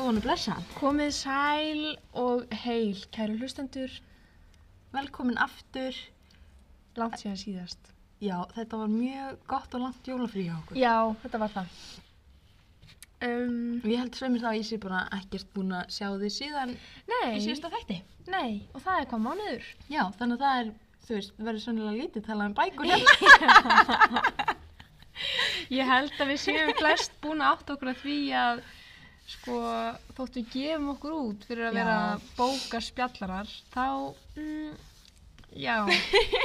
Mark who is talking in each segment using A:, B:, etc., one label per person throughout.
A: honum blessaðan.
B: Komið sæl og heil, kæru hlustendur,
A: Velkomin aftur.
B: langt síðan síðast.
A: Já, þetta var mjög gott og langt jólafrí hjá okkur.
B: Já, þetta var það. Um,
A: Ég held sveimir það að ég sé bara ekkert búin að sjá þig síðan í
B: nei,
A: síðasta þætti.
B: nei, og það er hvað mánuður.
A: Já, þannig að það er, þú veist, verður sannilega lítið talað um bækur hérna.
B: Ég held að við séum flest búin að átta okkur að því að, sko, þótt við gefum okkur út fyrir að
A: Já.
B: vera bókar spjallarar, þá, mm, já,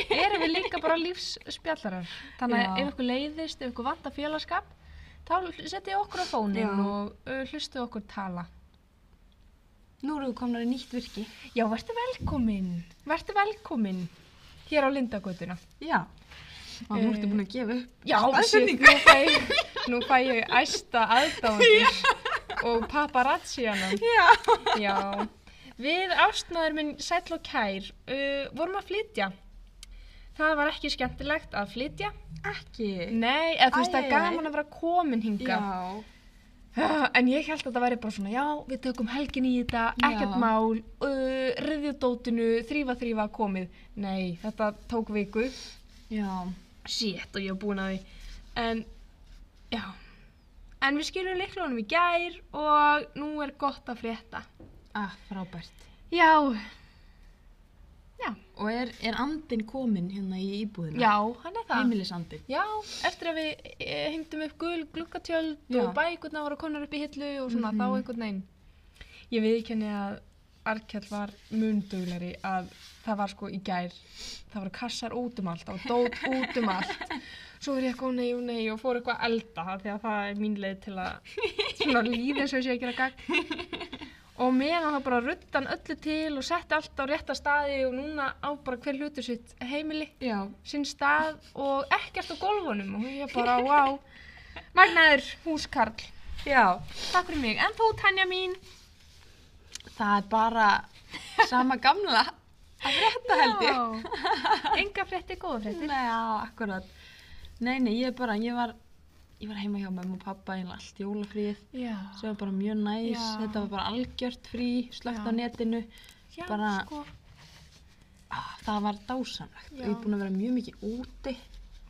B: erum við líka bara lífsspjallarar. Þannig að
A: Já.
B: ef okkur leiðist, ef okkur vantar félagskap, þá setjið okkur á fónin
A: Já.
B: og uh, hlustuð okkur tala.
A: Nú eru við komnar í nýtt virki.
B: Já, verður velkominn, verður velkominn hér á Lindagötuna.
A: Já. Og nú
B: Eh,
A: ertu búin að gefa upp.
B: Já, shit,
A: staðsetningu.
B: nú fæ, nú fæ ég æsta aðdáðandur og paparazzianum.
A: Já.
B: Já, við ástnaður minn Sæll og Kær uh, vorum að flytja. Það var ekki skemmtilegt að flytja.
A: Ekki.
B: Nei, eða þú veist það
A: Æ,
B: er
A: æ, æ.
B: gaman að vera komin hinga.
A: Já.
B: En ég held að það væri bara svona, já, við tökum helgin í þetta, ekkert
A: Já.
B: mál, uh, riðjudótinu, þrýfa þrýfa komið. Nei, þetta tók viku.
A: Já.
B: Shit, og ég var búin að því. En, já. En við skiljum leiklunum í gær og nú er gott að frétta.
A: Ah, frábært.
B: Já. Já.
A: Og er, er andin komin hérna í íbúðina?
B: Já, hann er það.
A: Heimilisandinn.
B: Já, eftir að við eh, hengdum upp gul gluggatjöld
A: Já.
B: og bækurna voru konar upp í hillu og svona
A: Mhm.
B: þá einhvern veginn. Ég viðkenni að Arkell var munduglari að það var sko í gær, það voru kassar út um allt og dót út um allt. Svo er ég eitthvað, ó nei, ó nei og fór eitthvað að elda það því að það er mín leið til að svona líði eins og ég sé að gera gagn. Og meðan þá bara rutt hann öllu til og setti allt á rétta staði og núna á bara hver hlutur sitt heimili
A: Já.
B: sinn stað og ekkert á gólfunum og ég bara, wow, magnaður húskarl,
A: Já.
B: takk fyrir mig, en þú Tanja mín,
A: Það er bara sama gamla að frétta held ég.
B: enga frétti, góða frétti,
A: Nei, já, akkurat. Nei, nei, ég er bara, ég var, ég var heima hjá mömmu og pappa eiginlega allt jólafríð.
B: já,
A: Svo var bara mjög næs,
B: Já.
A: þetta var bara algjört frí, slögt
B: Já.
A: á netinu.
B: já,
A: bara-
B: sko,
A: Ah, það var dásamlegt.
B: Já.
A: Ég er búin að vera mjög mikið úti.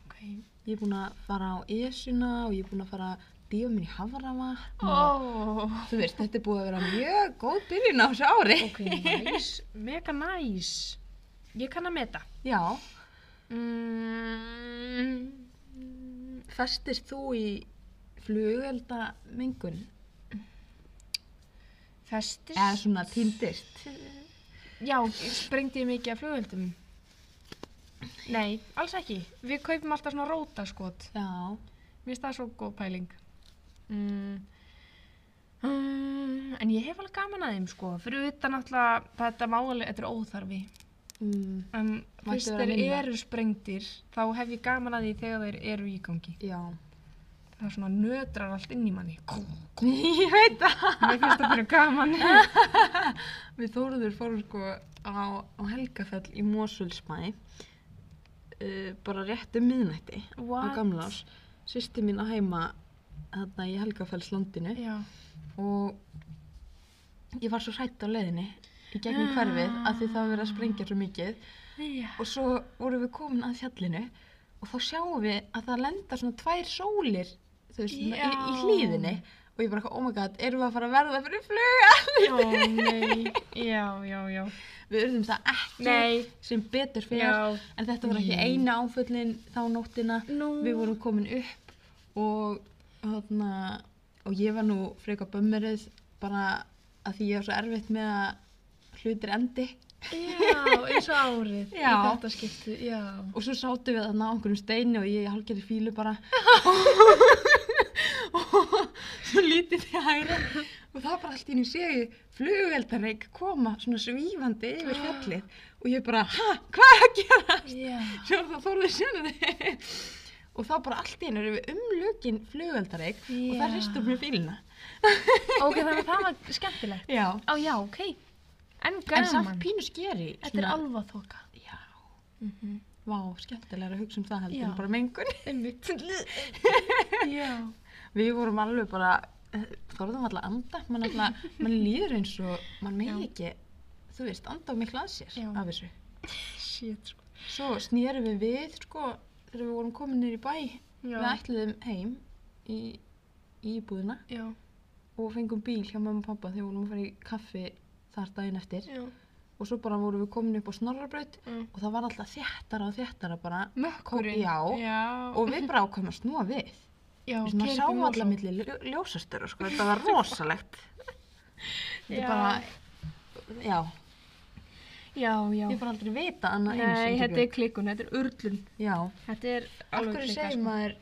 B: ok,
A: Ég er búin að fara á Esuna og ég er búin að fara að dífa minn í Havravatn. og
B: ó,
A: Þú veist, þetta er búið að vera mjög góð byrjun á þessu ári.
B: ok, næs, mega næs, ég kann að meta,
A: Já.
B: mm,
A: Festist þú í flugeldamingun?
B: festis,
A: Eða svona týndist?
B: Já, sprengdi ég mikið af flugöldum? Nei, alls ekki. Við kaupum alltaf svona rótaskot.
A: Já.
B: Mér finnst það svo góð pæling. Mm. Mm, en ég hef alveg gaman að þeim sko. Fyrir utan alltaf, þetta máli, þetta er óþarfi.
A: Mm,
B: En fyrst
A: vera
B: þeir
A: minna.
B: eru sprengdir, þá hef ég gaman að því þegar þeir eru í gangi.
A: já.
B: Það er svona nötrar allt inn í manni.
A: Ég veit það.
B: Mér finnst það bara gaman.
A: Við Þóruður fórum sko á, á Helgafell í Mosulsmæ uh, bara rétt um miðnætti á
B: What?
A: gamlás. Sýsti mín á heima þarna í Helgafellslandinu
B: Já.
A: og ég var svo hrætt á leiðinni í gegnum hverfið að því það var verið að sprengja svo mikið
B: Já.
A: og svo vorum við komin að fjallinu og þá sjáum við að það lenda svona tvær sólir þú veist, svona í, í
B: Já.
A: hlíðinni og ég bara, eitthvað, oh my god, erum við að fara að verða fyrir fluga?
B: Ó, nei. Já, já, já.
A: Við urðum það ekki
B: Nei.
A: sem betur fyrir
B: Já.
A: en þetta var ekki
B: Nei.
A: eina áföllin þá nóttina
B: Nú.
A: við vorum komin upp og, þarna, og ég var nú freka bömmerið bara að því ég var svo erfitt með að hlutir endi
B: Já, eins og árið
A: Já.
B: í þetta skipti, já.
A: og svo sátum við þarna á einhverjum steini og ég halgerði fílu bara og svo lítið til hægra og það bara allt í henni séu flugeldarreik koma svona svífandi yfir fjallið og ég bara, hæ, hvað er að gera?
B: Já.
A: Svo var það þorðið sjönuði og þá bara allt í henni erum við umlökin flugeldarreik og
B: Já.
A: það ristur mér fíluna
B: Ok, þannig að það var skemmtilegt.
A: Já,
B: Á, já, ok. En
A: en samt
B: gaman.
A: pínu skeri
B: Þetta er alvaþoka.
A: Já,
B: Mm -hmm.
A: vá, skemmtilega að hugsa um það heldur
B: Já.
A: en bara mengun
B: Einmitt. já.
A: Við vorum alveg bara eh, þorðum alltaf að anda mann alltaf, mann líður eins og mann megi
B: Já.
A: ekki, þú veist, anda á miklu að sér
B: Já.
A: af þessu
B: Shit, sko.
A: svo snýrum við við, sko þegar við vorum komin nýr í bæ
B: Já.
A: við ætluðum heim í, í íbúðina
B: Já.
A: og fengum bíl hjá mamma og pappa þegar við vorum að fara í kaffi þar daginn eftir
B: Já.
A: og svo bara vorum við komin upp á snorrabraut
B: Mm.
A: og það var alltaf þéttara og þéttara bara
B: Mökkurinn.
A: Já.
B: Já.
A: og við bara ákvæmum að snúa við
B: já,
A: Við svona
B: keyra upp í
A: sáum
B: Mosó.
A: allar milli ljó- ljósastöru sko, þetta var rosalegt þetta
B: Já.
A: er bara já,
B: Já, já.
A: ég bara aldrei vita annað eins
B: Nei,
A: Ingibjörg.
B: þetta er klikkun, þetta er urlun.
A: já,
B: Þetta er
A: af
B: alveg
A: hverju
B: klikkað,
A: segir
B: sko.
A: maður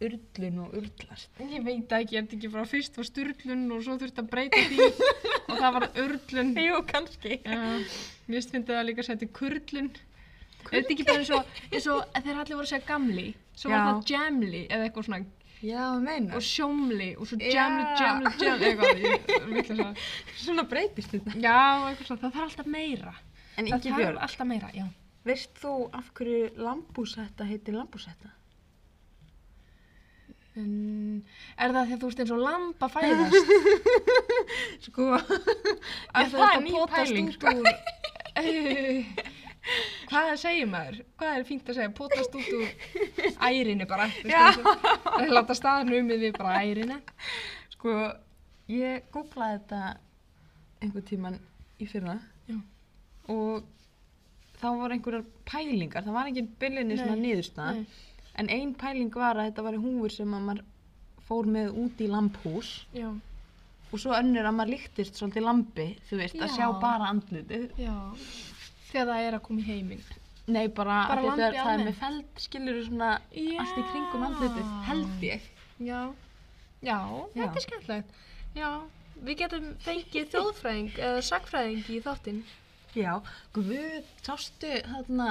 A: urlun og urlast
B: Ég veit það ekki, er þetta ekki bara fyrst var sturlun og svo þurfti að breyta því og það var urlun.
A: jú, kannski
B: Já, mér finnst það líka að setja kurlun. Er þetta ekki bara eins og, eins og þegar allir voru að segja gamli, svo var
A: Já.
B: það jamli eða eitthvað svona
A: já, meina,
B: og sjómli og svo
A: Já.
B: jamli, jamli, jamli, eitthvað, ég vil það svona.
A: svona breytist þetta
B: Já, eitthvað svona, það þarf alltaf meira.
A: en
B: Það
A: Ingi
B: þarf
A: Björn,
B: alltaf meira, já.
A: veist þú af hverju lambúsetta heitir lambúsetta?
B: En, er það því að þú veist eins og lamba fæðast?
A: sko,
B: Að
A: Já,
B: þú
A: það
B: ert
A: er
B: að
A: ný
B: potast
A: pæling,
B: út úr... sko. Hvað segir maður? Hvað er fínt að segja? Potast út úr ærinu bara. þú veist,
A: Já.
B: eins og- Það er láta staðan umið við bara ærinu.
A: sko ég googlaði þetta einhvern tíman í fyrra
B: Já.
A: og þá voru einhverjar pælingar, það var engin byllinni svona
B: Nei,
A: niðurstaða, en ein pæling var að þetta var húfur sem að maður fór með út í lampús
B: Já,
A: og svo önnur að maður líktist svolítið lampi, þú veist, að
B: Já.
A: sjá bara andlitið,
B: já. Þegar það er að koma í heiminn.
A: nei bara,
B: Bara
A: af því
B: lambið
A: þegar það er
B: almennt.
A: með feld, skilur svona
B: Já.
A: allt í kringum andlitið, held ég
B: Já. Já,
A: Já.
B: þetta er skemmtilegt. Já, við getum fengið þjóðfræðing eða sagfræðing í þáttinn.
A: Já, guð, sástu þarna,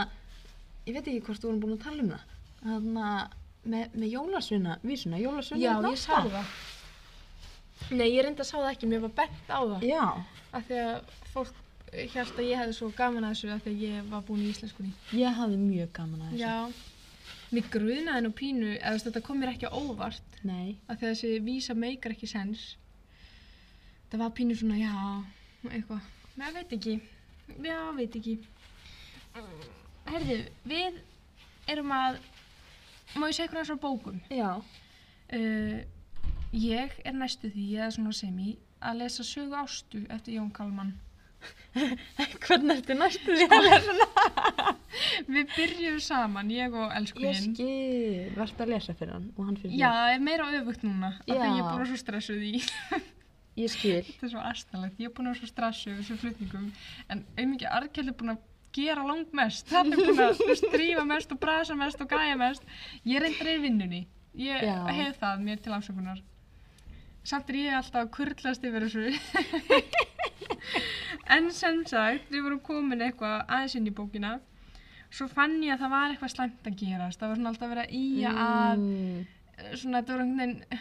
A: ég veit ekki hvort þú vorum búin að tala um það, þarna með, með jólasvina, vísuna, hérna jólasvina
B: Já,
A: þarna
B: ég sá
A: átta.
B: það. Nei, ég reyndi að sá það ekki, mér var bent á það.
A: Já,
B: Af því að fólk held að ég hefði svo gaman að þessu af því að ég var búin í íslenskunni.
A: ég hafði mjög gaman að þessu.
B: Já. Mér grunaði nú pínu, eða þú veist, þetta kom mér ekki á óvart
A: Nei,
B: af því að þessi vísa meikar ekki sens. Það var pínu svona, já, eitthvað. Nei, ég veit ekki. Já, veit ekki. Herðu, við erum að, má ég segja eitthvað svona bókum?
A: já,
B: Uh, ég er næstu því, eða svona sem í, að lesa sögu ástu eftir Jón Kalman.
A: hvernig ertu næstu því að lesa það?
B: Við byrjum saman, ég og
A: Ég
B: elskunin.
A: skil, verðt að lesa fyrir hann og hann fyrir
B: Já, það er meira öfugt núna. af því
A: Já.
B: Ég er búin að vera svo stressuð í.
A: því. Ég skil,
B: Þetta er svo astanlegt. Ég er búin að vera svo stressuð við þessum flutningum. En auðvitað Arkell er búin að gera langt mest. Hann er búin að strífa mest og brasa mest og gæja mest. Ég reyndar er í vinnunni. Ég
A: Já.
B: hef það mér til afsökunar. Samt er ég alltaf að kurlast yfir þessu. en sem sagt, við vorum komin eitthvað aðeins inn í bókina. Svo fann ég að það var eitthvað slæmt að gerast. Það var svona alltaf verið að íja að
A: Mm,
B: svona þetta var einhvern veginn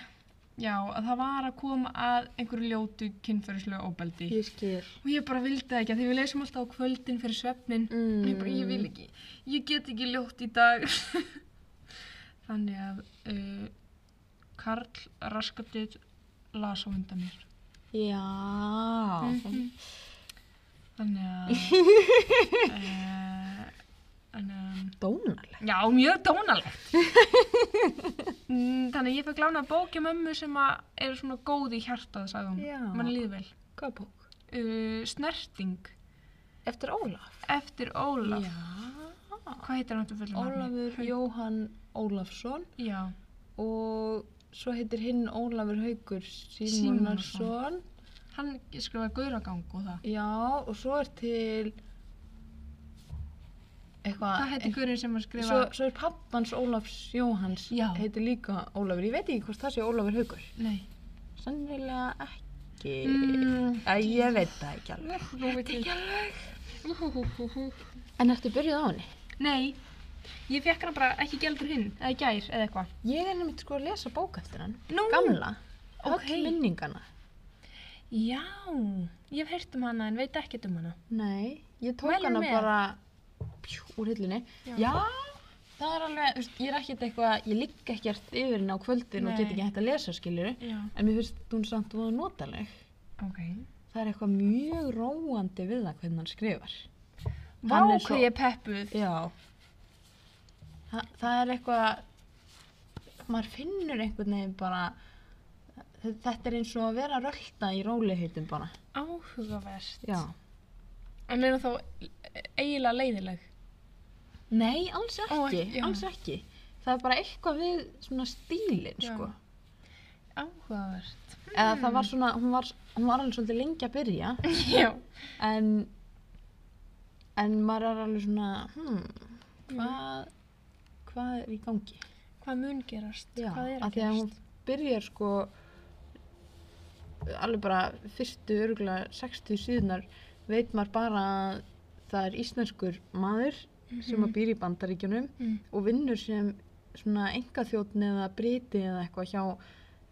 B: já, að það var að koma að einhverju ljótu kynferðislega óbeldi
A: ég skil.
B: og ég bara vildi það ekki að því við lesum alltaf á kvöldin fyrir svefnin
A: Mm.
B: ég bara, ég vil ekki, ég get ekki ljótt í dag þannig að uh, Karl raskatið las á undan mér
A: Já,
B: Mhm. þannig að uh, þannig að
A: dónalegt.
B: Já, mjög dónalegt. Mm, Þannig að ég fekk lánað bókja mömmu sem að er svona góð í hjartað, sagði hún.
A: Já.
B: Man líði vel.
A: Hvað bók?
B: Uh, snerting
A: Eftir Ólaf.
B: eftir Ólaf.
A: Já,
B: Hvað heitir hann aftur fullum nafni?
A: Ólafur Jóhann Ólafsson.
B: Já,
A: og svo heitir hinn Ólafur Haugur
B: Símonarson.
A: Símonarsson
B: hann skrifaði Gauragang og það.
A: já og svo er til eitthvað
B: Hvað heitir Gaurinn sem að skrifa?
A: svo, svo er pappans Ólafs Jóhans
B: Já.
A: heitir líka Ólafur ég veit ekki hvort það sé Ólafur Haugur
B: Nei.
A: sannilega ekki
B: Mm.
A: að ég veit það ekki alveg
B: Nú veit ég. Úhúhúhúhú.
A: en ertu byrjuð á henni?
B: Nei, ég fekk hana bara ekki gældur hinn, eða í gær, eða eitthvað.
A: ég er nefnitt sko að lesa bók eftir hann
B: Nú.
A: gamla,
B: Mm. Ok.
A: öll minningana
B: Já, ég hef heyrt um hana en veit ekkert um hana.
A: Nei, ég tók
B: Mælum
A: hana
B: með.
A: bara pjú, úr hillinni.
B: Já.
A: Já. það er alveg, þú veist, ég er ekkert eitthvað, ég ligg ekkert yfir henni á kvöldin og
B: Nei.
A: get ekki hægt að lesa skilur,
B: Já.
A: en mér finnst hún samt voða notaleg.
B: Ok.
A: Það er eitthvað mjög róandi við það hvernig hann skrifar.
B: Vá
A: Hann er svo-
B: hvað ég er peppuð.
A: Já. Þa, það er eitthvað, maður finnur einhvern veginn bara, þetta er eins og að vera rölda í róliheitum bara.
B: Áhugavert.
A: Já.
B: En er hún þá eiginlega leiðileg?
A: Nei, alls
B: Ó,
A: ekki,
B: ekki, já.
A: alls ekki. Það er bara eitthvað við svona stílinn,
B: Já.
A: sko.
B: Áhugavert.
A: Eða það var svona, hún var, hún var alveg svolítið lengi að byrja,
B: Já.
A: en, en maður er alveg svona, hmm, hvað, hvað er í gangi?
B: Hvað mun gerast?
A: Já,
B: hvað er
A: af
B: að
A: því að hún
B: gerast?
A: byrjar sko alveg bara fyrstu örgulega 60 síðunar veit maður bara að það er íslenskur maður sem að býr í bandaríkjunum
B: Mm.
A: og vinnur sem svona enga eða briti eða eitthvað hjá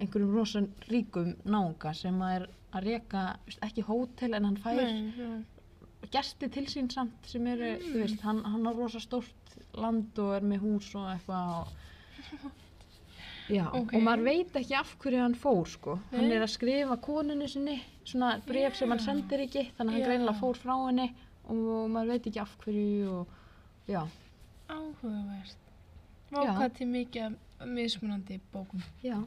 A: einhverjum rosan ríkum náunga sem að er að reka veist, ekki hótel en hann fær
B: Nei, já.
A: gesti til sín samt sem eru, þú
B: Mm.
A: veist, hann, hann á rosa stórt land og er með hús og eitthvað og... Já,
B: Ok.
A: og maður veit ekki af hverju hann fór, sko. Hann
B: Nei.
A: er að skrifa koninu sinni, svona bref sem hann
B: Já.
A: sendir ekki, þannig að hann
B: Já.
A: greinilega fór frá henni og maður veit ekki af hverju og, já,
B: Áhugavert. Vá
A: Já.
B: hvað til mikið af mismunandi bókum.
A: já.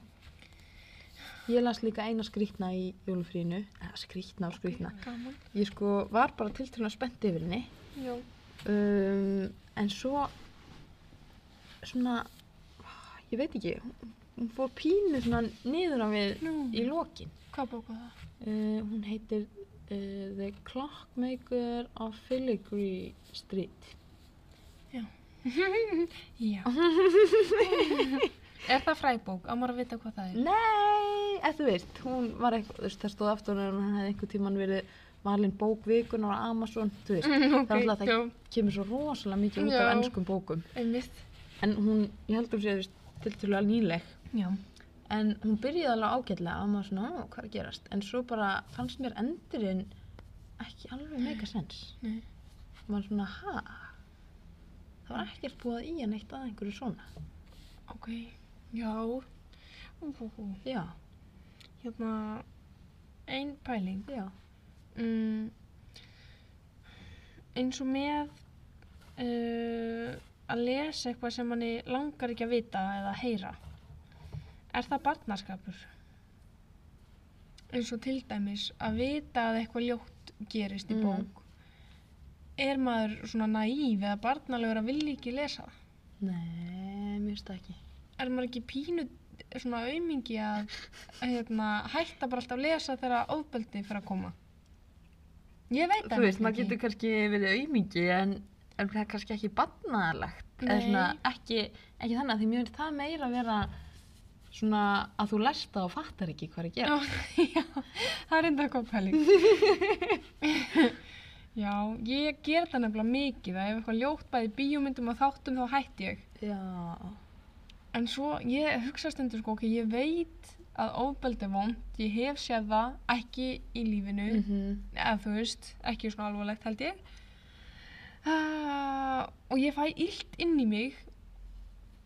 A: Ég las líka eina skrýtna í jólufrínu, eða skrýtna og skrýtna.
B: Gaman.
A: Ég sko var bara til til að spennt yfir henni
B: Já.
A: um, en svo svona ég veit ekki hún- hún fór pínu svona niður á við
B: Nú,
A: í lokin
B: hvað bók var það?
A: uh, hún heitir uh, The Clockmaker of Filigree Street
B: Já. er það fræbók? Á maður að vita hvað
A: Mm.
B: það er?
A: nei, ef þú veist hún var eitthvað, þú veist, það stóð aftur en hún hefði einhver tíman verið valinn bókvikunar á Amazon, þú veist
B: Mm,
A: það er alltaf
B: já.
A: það kemur svo rosalega mikið út af
B: Já.
A: ennskum bókum
B: Einmitt.
A: en hún, ég held um sér til til að nýleg
B: Já.
A: En hún byrjaði alveg ágætlega og maður svona, "Ó, hvað er að gerast? En svo bara fannst mér endurinn ekki alveg meika sens.
B: Nei.
A: Maður svona, ha? Það var ekkert búið í hann eitt að einhverju svona.
B: Ok. Já. Ú, hú, hú.
A: Já,
B: Hérna, ein pæling.
A: já.
B: Mm, eins og með uh, að lesa eitthvað sem manni langar ekki að vita eða heyra. Er það barnaskapur? Eins og til dæmis að vita að eitthvað ljótt gerist í
A: Mm.
B: bók. Er maður svona naív eða barnalegur að vilja ekki lesa það?
A: Nei, mér finnst það ekki.
B: er maður ekki pínu svona aumingi að hérna, hætta bara alltaf að lesa þegar ofbeldi fyrir að koma ég veit
A: Þú veist, maður getur kannski verið aumingi en, en það er kannski ekki barnaðalegt. Eða
B: Nei.
A: svona, ekki, ekki þannig að því mér finnst það meira að vera svona að þú lest það og fattar ekki hvað er að gera.
B: já, já, það er enda eitthvað pæling já, ég ger það nefnilega mikið að ef eitthvað ljótt bæði í bíómyndum og þáttum þá hætti ég
A: Já,
B: en svo ég hugsa stundur sko ok, ég veit að ofbeldi er vond ég hef séð það ekki í lífinu
A: mm
B: eða þú veist, ekki svona alvarlegt held ég uh, og ég fæ illt inn í mig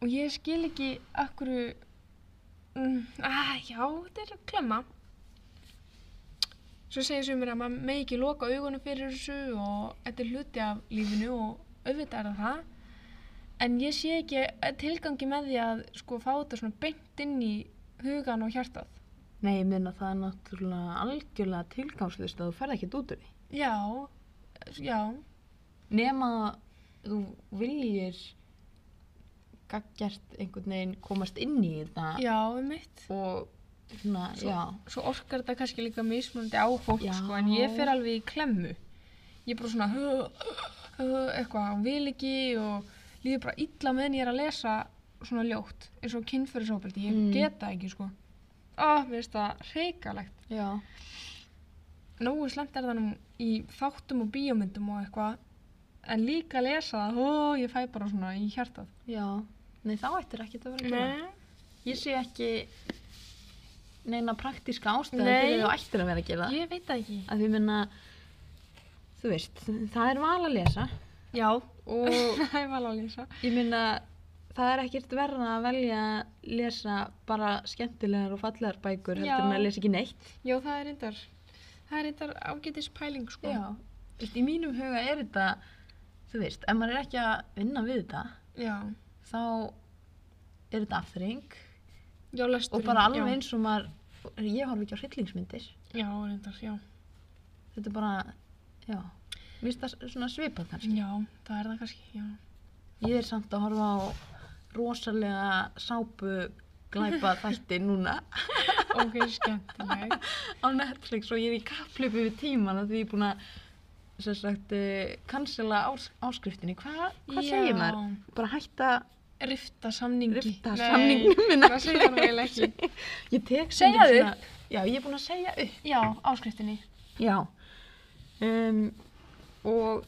B: og ég skil ekki akkur mm, að já, þetta er klemma svo segir sumir að maður megi ekki loka augunum fyrir þessu og þetta er hluti af lífinu og auðvitað er það en ég sé ekki tilgangi með því að sko fá þetta svona beint inn í hugan og hjartað
A: Nei, ég minna það er náttúrulega algjörlega tilgangslust að þú ferð ekkert út úr því.
B: já, já
A: Nema þú viljir gaggjart einhvern veginn komast inn í þetta
B: já, um mitt
A: og svona,
B: Svo-
A: já.
B: svo orkar þetta kannski líka mismunandi á fólk
A: Já.
B: sko, en ég fer alveg í klemmu ég er bara svona hö, hö, eitthvað, vil ekki og líður bara illa meðan ég er að lesa svona ljótt, eins og kynfyrirsofbeldi ég
A: Mm.
B: get það ekki sko ah, mér finnst það hreikalegt
A: Já.
B: nógu slemt er það nú í þáttum og bíómyndum og eitthvað en líka að lesa það, hó, ég fæ bara svona í hjartað
A: Já. Nei, þá ættir ekkert að vera að gera. Ég sé ekki neina praktíska ástæðan
B: Nei.
A: fyrir þú ættir að vera að gera það.
B: ég veit það ekki
A: Af því minna, þú veist, það er val að lesa
B: já,
A: og
B: það er vel að lesa
A: ég minna, það er ekkert verða að velja að lesa bara skemmtilegar og fallegar bækur heldur en
B: Já.
A: að lesa ekki neitt.
B: Já, það er reyndar, það er reyndar ágætis pæling, sko.
A: Þú veist, í mínum huga er þetta, þú veist, ef maður er ekki að vinna við þetta,
B: Já.
A: þá er þetta afþreying
B: Já, lesturinn.
A: og bara alveg
B: já.
A: eins og maður, ég horf ekki á hryllingsmyndir,
B: Já, reyndar, já.
A: þetta er bara, já, mér finnst það svona svipað kannski.
B: Já, það er það kannski, já.
A: Ég er samt að horfa á rosalega sápu glæpa þætti núna
B: Ok, skemmtileg.
A: á Netflix og ég er í kapplöpu við tíman að því ég er búin að sem sagt, eh, cancela ás áskriftinni. Hva, hvað segir maður? Bara hætta
B: Rifta samningi.
A: rifta
B: Nei,
A: samningnum minn
B: Hvað segir maður vel ekki?
A: Ég tek
B: Segja
A: stundum
B: þau.
A: svona- Já, ég er búin að segja upp.
B: Já, áskriftinni.
A: Já. Um, og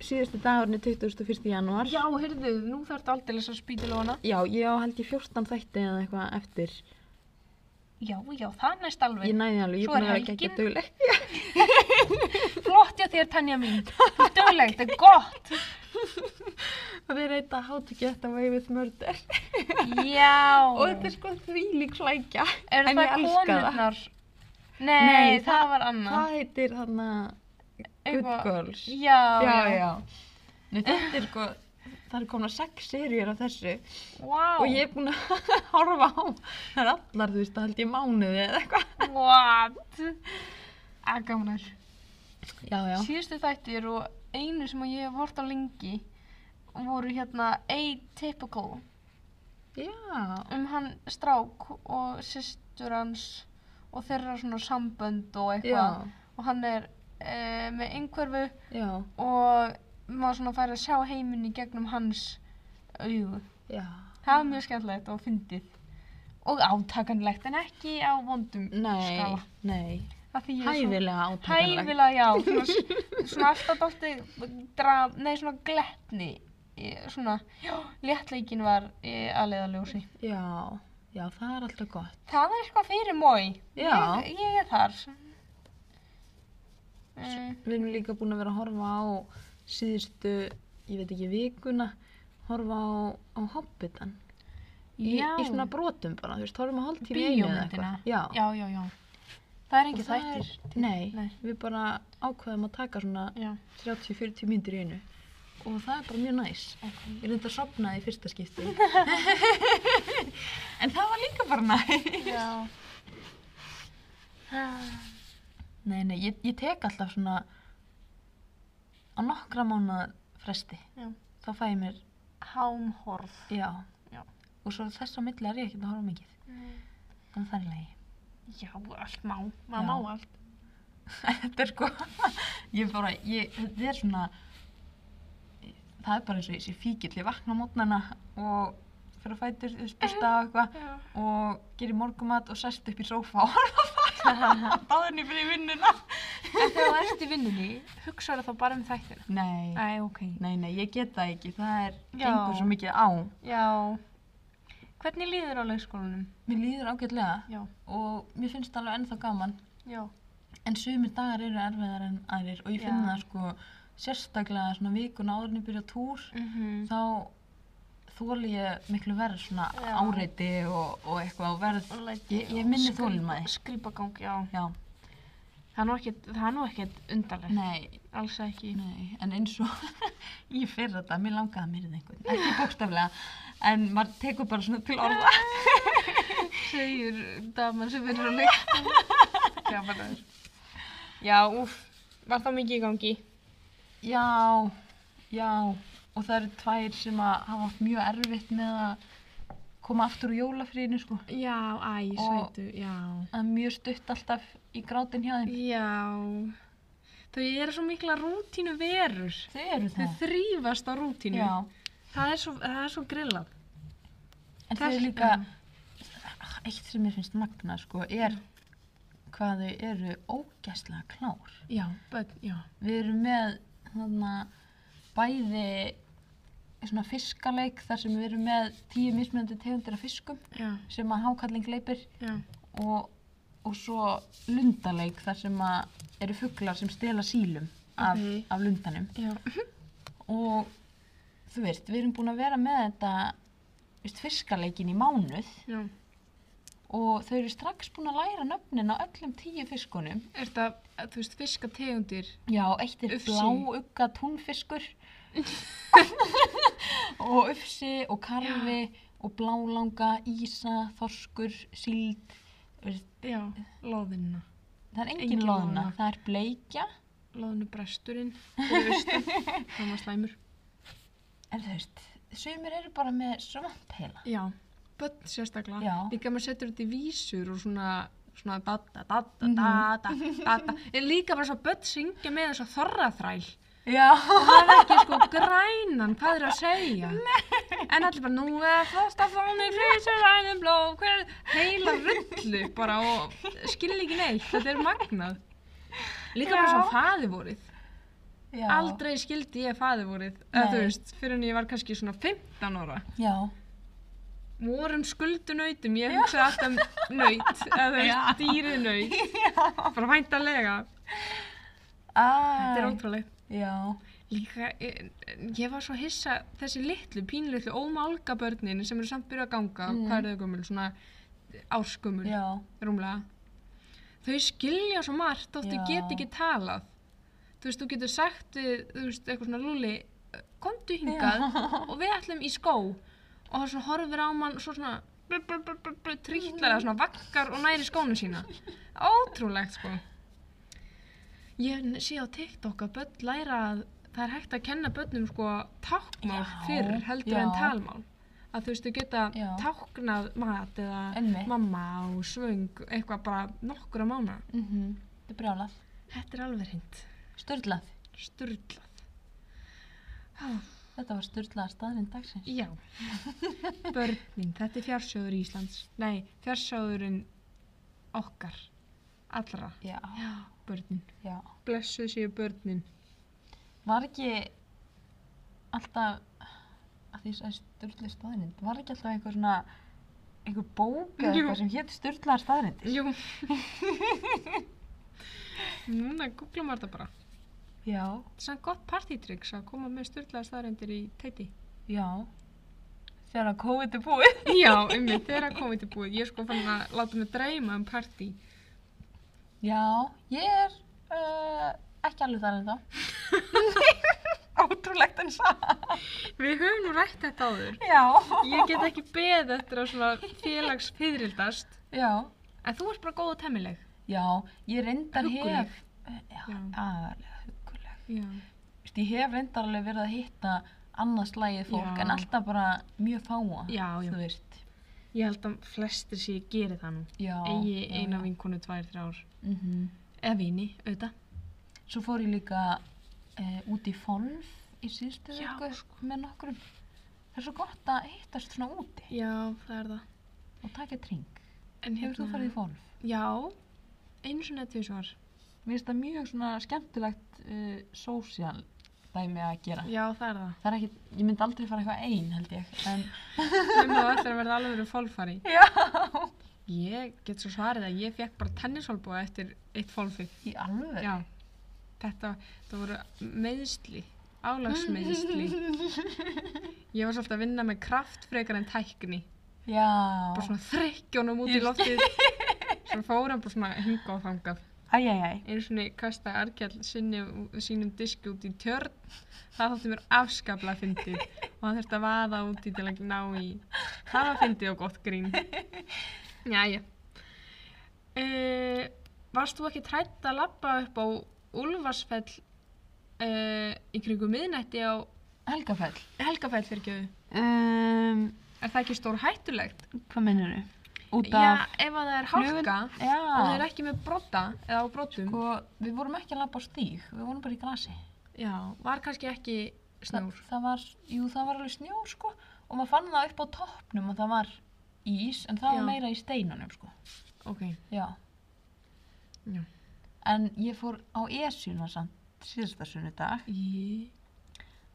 A: síðustu dagurinn er 21. janúar.
B: Já, heyrðu, nú þarf þetta aldrei að spýta lóna.
A: Já, ég á held ég 14 þætti eða eitthvað eftir.
B: Já, já, það er næst alveg.
A: Ég næði alveg, ég er
B: Svo
A: búin
B: er
A: að vera ekki
B: helgin.
A: að döguleg.
B: Flott hjá þér, Tanja mín. Þú dögleg, þetta er gott.
A: Það er eitt að hátu geta away with murder
B: Já.
A: og þetta er sko þvílík hlækja
B: Eru
A: en
B: það
A: ég elska það.
B: konurnar? Nei,
A: Nei,
B: það,
A: það-
B: var annað.
A: Það heitir þarna Good
B: Eitthvað-
A: Girls
B: Já, já.
A: já Nei, Þetta er sko, það er komin að sex seríur af þessu
B: Vá.
A: og ég er búin að horfa á það er allar, þú veist, það held ég mánuði eða eitthvað
B: What? Ah, Agamnar.
A: Já, já
B: Síðustu þættir og einu sem ég hef hort á lengi voru hérna Atypical
A: Já,
B: um hann strák og systur hans og þeirra svona sambönd
A: já,
B: og eitthvað og hann er e, með einhverfu
A: já,
B: og maður svona fær að sjá heiminn í gegnum hans augu.
A: já
B: Það var mjög skemmtilegt og fyndið og átakanlegt en ekki á vondum
A: Nei,
B: skala.
A: nei
B: Af því ég er svo-
A: Hæfilega átakanlega
B: Hæfilega, já, svona, svona alltaf dálti draf, nei, svona gletni, Ég- svona, já, léttleikin var eh, að leiða ljósi.
A: Já, já, það er alltaf gott
B: Það er eitthvað fyrir mói,
A: Já.
B: ég, ég er þar. Mm,
A: Við erum líka búin að vera að horfa á síðustu, ég veit ekki, vikuna, horfa á, á Hobbitan. Í,
B: já,
A: í svona brotum bara, þú veist, horfum að hálftíma í einu eða
B: bíómyndina,
A: eitthvað. Já,
B: já, já, já, það er
A: Og
B: ekki
A: það
B: þættir.
A: er- Nei,
B: Nei.
A: við bara ákveðum að taka svona
B: Já,
A: 30-40 myndir í einu og það er bara mjög næs.
B: ok.
A: Ég reyndi að sopna í fyrsta skipti. en það var líka bara næs.
B: Já. Ah,
A: Nei, nei, ég, ég tek alltaf svona á nokkra mánuða fresti.
B: Já.
A: Þá fæ ég mér
B: Hámhorf.
A: Já.
B: Já.
A: Og svo þess á milli er ég ekkert að horfa mikið. Þannig það er leiði.
B: Já, allt má, maður
A: Já.
B: má allt.
A: þetta er sko, ég bara, ég, þetta er svona, það er bara eins og ég sé fíkill, ég vakna á mótnana og fyrir að fætur, þú veist,
B: Mhm.
A: bursta á eitthvað
B: Já.
A: og gerir morgumat og sest upp í sófa og horfa bara báðinni fyrir vinnuna.
B: En þegar þú ert í vinnunni, hugsaðu þá bara um þættina.
A: Nei,
B: Æ, ok.
A: nei, nei, ég get það ekki, það er,
B: Já.
A: gengur svo mikið á.
B: Já. Hvernig líður á leikskólanum?
A: Mér líður ágætlega
B: Já.
A: og mér finnst alveg ennþá gaman.
B: Já.
A: En sumir dagar eru erfiðar en aðrir og ég finn
B: Já.
A: það sko sérstaklega svona vikun áðurinn ég byrja á túr
B: Mm -hmm.
A: þá þóli ég miklu verð svona
B: Já.
A: áreiti og, og eitthvað og verð Ég- ég minni þolinmæði.
B: Skrýpagang, já.
A: Já,
B: Það er nú ekkert, það er nú ekkert undarlegt.
A: nei,
B: Alls ekki.
A: nei, en eins og ég fyrir þetta, mér langaði mér einhvern, ekki bókstaflega, en maður tekur bara svona til orða.
B: Segir daman sem vinnur á leikskólanum. já, bara það er. Já, úf. Var það mikið í gangi?
A: Já, já, og það eru tvær sem að hafa átt mjög erfitt með að koma aftur úr jólafríðinu sko.
B: Já, æ,
A: sætu,
B: já.
A: Það er mjög stutt alltaf í grátinn hjá þeim.
B: Já. Þau eru svo mikla rútínu verur.
A: Þau eru
B: Þau þrýfast á rútínu.
A: Já,
B: Það er svo, það er svo grillað.
A: en þau
B: Þess-
A: eru líka, Ah, eitt sem mér finnst magna sko, er hvað þau eru ógæslega klár.
B: Já, börn, já.
A: Við erum með hana, bæði svona fiskaleik þar sem við erum með tíu mismunandi tegundir af fiskum
B: Já,
A: sem að hákalling leipir
B: já.
A: og, og svo lundaleik þar sem að eru fuglar sem stela sílum af,
B: Ókei.
A: af lundanum
B: Já.
A: og þú veist, við erum búin að vera með þetta veist, fiskaleikin í mánuð
B: Já.
A: og þau eru strax búin að læra nöfnin á öllum tíu fiskunum.
B: Er þetta, þú veist, fiskategundir?
A: Já, eitt er
B: Ufsi.
A: bláugga túnfiskur og ufsi og karfi og blálanga, ísa, þorskur, síld. þú veist,
B: Já, loðinna.
A: Það er engin,
B: Engin
A: loðna,
B: loðna.
A: það er bleikja.
B: Loðinu bresturinn. fyrir austan. Það var slæmur.
A: En þú veist, sumir eru bara með svampheila.
B: Já. Bönn sérstaklega.
A: Já.
B: Líka maður setur þetta í vísur og svona, svona da da da da
A: Mhm.
B: da da da da. En líka bara svo að bönn syngja með þess að þorraþræl.
A: Já.
B: Það er ekki sko grænan, hvað er að segja? En allir bara, nú er það stafóni, frísur, rænum, blóð, hver er heila rullu bara og skilja ekki neitt, þetta er magnað. Líka bara
A: Já.
B: svo faðivorið.
A: Já.
B: Aldrei skildi ég faðivorið, eða þú
A: Nei.
B: veist, fyrir en ég var kannski svona 15 ára.
A: Já.
B: Vorum skuldunautum, ég hugsaði alltaf um naut, eða
A: Já.
B: þú veist, dýrið naut,
A: Já.
B: bara væntalega. Þetta er
A: Æ.
B: ótrúlegt.
A: Já.
B: Líka, ég, ég var svo hissa þessi litlu, pínlitlu, ómálga börnin sem eru samt byrjuð að ganga,
A: Mm.
B: hvað eru þau gömul, svona ársgömul,
A: Já.
B: rúmlega. Þau skilja svo margt, þótt þau
A: Já.
B: get ekki talað. Þú veist, þú getur sagt við, þú veist, eitthvað svona lúli, komdu hingað og við ætlum í skó og það svona horfir á mann og svo svona br, br, br, br, br, trítlar það svona vakkar og næri skónu sína. Ótrúlegt, sko. Ég sé á TikTok að börn læra að það er hægt að kenna börnum sko tákmál
A: Já,
B: fyrr heldur
A: já.
B: en talmál. Að þú veist, þau geta
A: Já.
B: táknað mat eða
A: Einmitt.
B: mamma og svöng, eitthvað bara nokkura mánu.
A: Mhm. Þetta er brjálað.
B: Þetta er alveg hreint.
A: Sturlað.
B: Sturlað. Ah.
A: Þetta var sturlaða staðrind dagsins.
B: Já. Börnin, þetta er fjársjóður Íslands. Nei, fjársjóðurinn okkar. Allra.
A: Já.
B: Já, börnin.
A: Já.
B: Blessuð séu börnin.
A: Var ekki alltaf, að því að sturlaði staðrind, var ekki alltaf einhver svona, einhver bók eða
B: Jú.
A: eitthvað sem hétt sturlaða staðrindir?
B: Jú. Núna googla maður þetta bara.
A: Já.
B: Þetta er samt gott partytryggs að koma með styrlaða staðarendir í tæti.
A: Já. Þegar að COVID er búið.
B: Já, um mig, þegar að koma til búið. Ég er sko fann að láta mig dreyma um partí.
A: Já, ég er uh, ekki alveg þar en þá. Ótrúlegt en það.
B: Við höfum nú rætt þetta áður.
A: Já.
B: Ég get ekki beð eftir að svona félags fyririldast.
A: Já.
B: En þú ert bara góð og temmileg.
A: Já, ég reyndar
B: Hugguleg.
A: hef. Já,
B: Já.
A: aðalega huguleg.
B: Já.
A: Vist, ég hef reyndar alveg verið að hitta annað slægið fólk
B: Já.
A: en alltaf bara mjög fáa.
B: Já, já.
A: Þú veist.
B: Ég held að flestir sé ég geri það nú.
A: Já.
B: Egi
A: já,
B: eina
A: já.
B: vinkonu tvær, þrjár.
A: Mhm.
B: Eða vini, auðvitað.
A: Svo fór ég líka uh, út í fólf í síðustu
B: Já, sko.
A: viku með nokkrum. Það er svo gott að hittast svona úti
B: Já, það er það.
A: og taka tring.
B: En hérna-
A: Hefur þú farið í fólf?
B: Já, einu svona tvisvar.
A: Mér finnst það mjög svona skemmtilegt uh, sósíal dæmi að gera.
B: Já, það er það.
A: Það er ekki, ég myndi aldrei fara eitthvað ein held ég, en
B: Nefnum það ætlar að verða alveg verið fólfari.
A: já,
B: Ég get svo svarið að ég fekk bara tennisholbúa eftir eitt fólfið.
A: í alveg.
B: Já, þetta, þetta voru meðsli, álagsmeðsli. Ég var svolítið að vinna með kraft frekar en tækni.
A: Já.
B: Bara svona þrykkjónum út í
A: Ég
B: loftið. Svo fór hann bara svona hinga og þangað.
A: Æj, æj, æj.
B: Einu svona kastaði Arkjall sinni, sínum diski út í tjörn. Það þótti mér afskaplega fyndið. Og hann þurfti að vaða úti til að ná í. Það var fyndið og gott grín. Jæja. Uh, varst þú ekki trætt að labba upp á Úlfarsfell uh, í kringu miðnætti á
A: Helgafell.
B: Helgafell fyrir gjöðu?
A: Um,
B: Er það ekki stór hættulegt?
A: hvað minnir þau? Út
B: Já,
A: af
B: ef að það er hálka
A: Já.
B: og það er ekki með brotta eða á
A: Ah.
B: brotum.
A: Sko, við vorum ekki að labba á stíg, við vorum bara í grasi.
B: Já, var kannski ekki
A: Þa,
B: snjór.
A: það var, jú, það var alveg snjór, sko, og maður fann það upp á toppnum og það var ís, en það
B: Já.
A: var meira í steinunum, sko.
B: Ok.
A: Já.
B: Já.
A: En ég fór á Esjuna samt síðasta sunnudag
B: Í...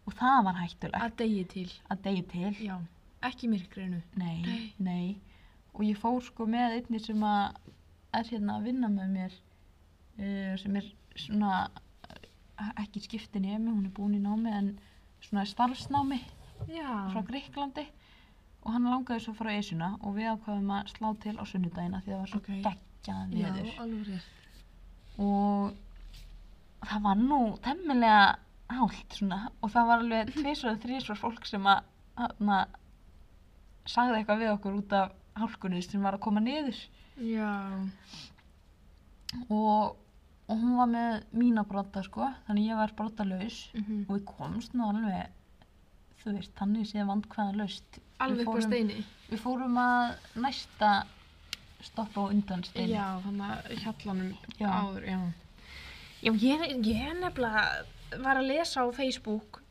A: og það var hættulegt
B: Að degi til.
A: að degi til.
B: Já, ekki myrkrinu.
A: Nei,
B: Nei.
A: nei. Og ég fór sko með einni sem að er hérna að vinna með mér uh, sem er svona eh, ekki skipti nemi, hún er búin í námi en svona starfsnámi
B: Já.
A: frá Gríklandi og og hann langaði svo frá Esjuna og við ákvaðum að slá til á sunnudagina því það var svo
B: Ókei.
A: okay. geggjað
B: Já,
A: veður
B: alveg rétt.
A: og það var nú temmilega hált svona og það var alveg tvisvar og þrísvar fólk sem að hana, sagði eitthvað við okkur út af hálkunni sem var að koma niður
B: Já,
A: og, og hún var með mína brotta sko þannig ég var brotalaus
B: mhm.
A: og við komst nú alveg þú veist, þannig séð vandkvæða laust
B: alveg upp á steini.
A: Við fórum að næsta stoppa á undan steinu.
B: Já, þannig að hjallanum
A: Já.
B: áður, já. Já, ég, ég er nefnilega var að lesa á Facebook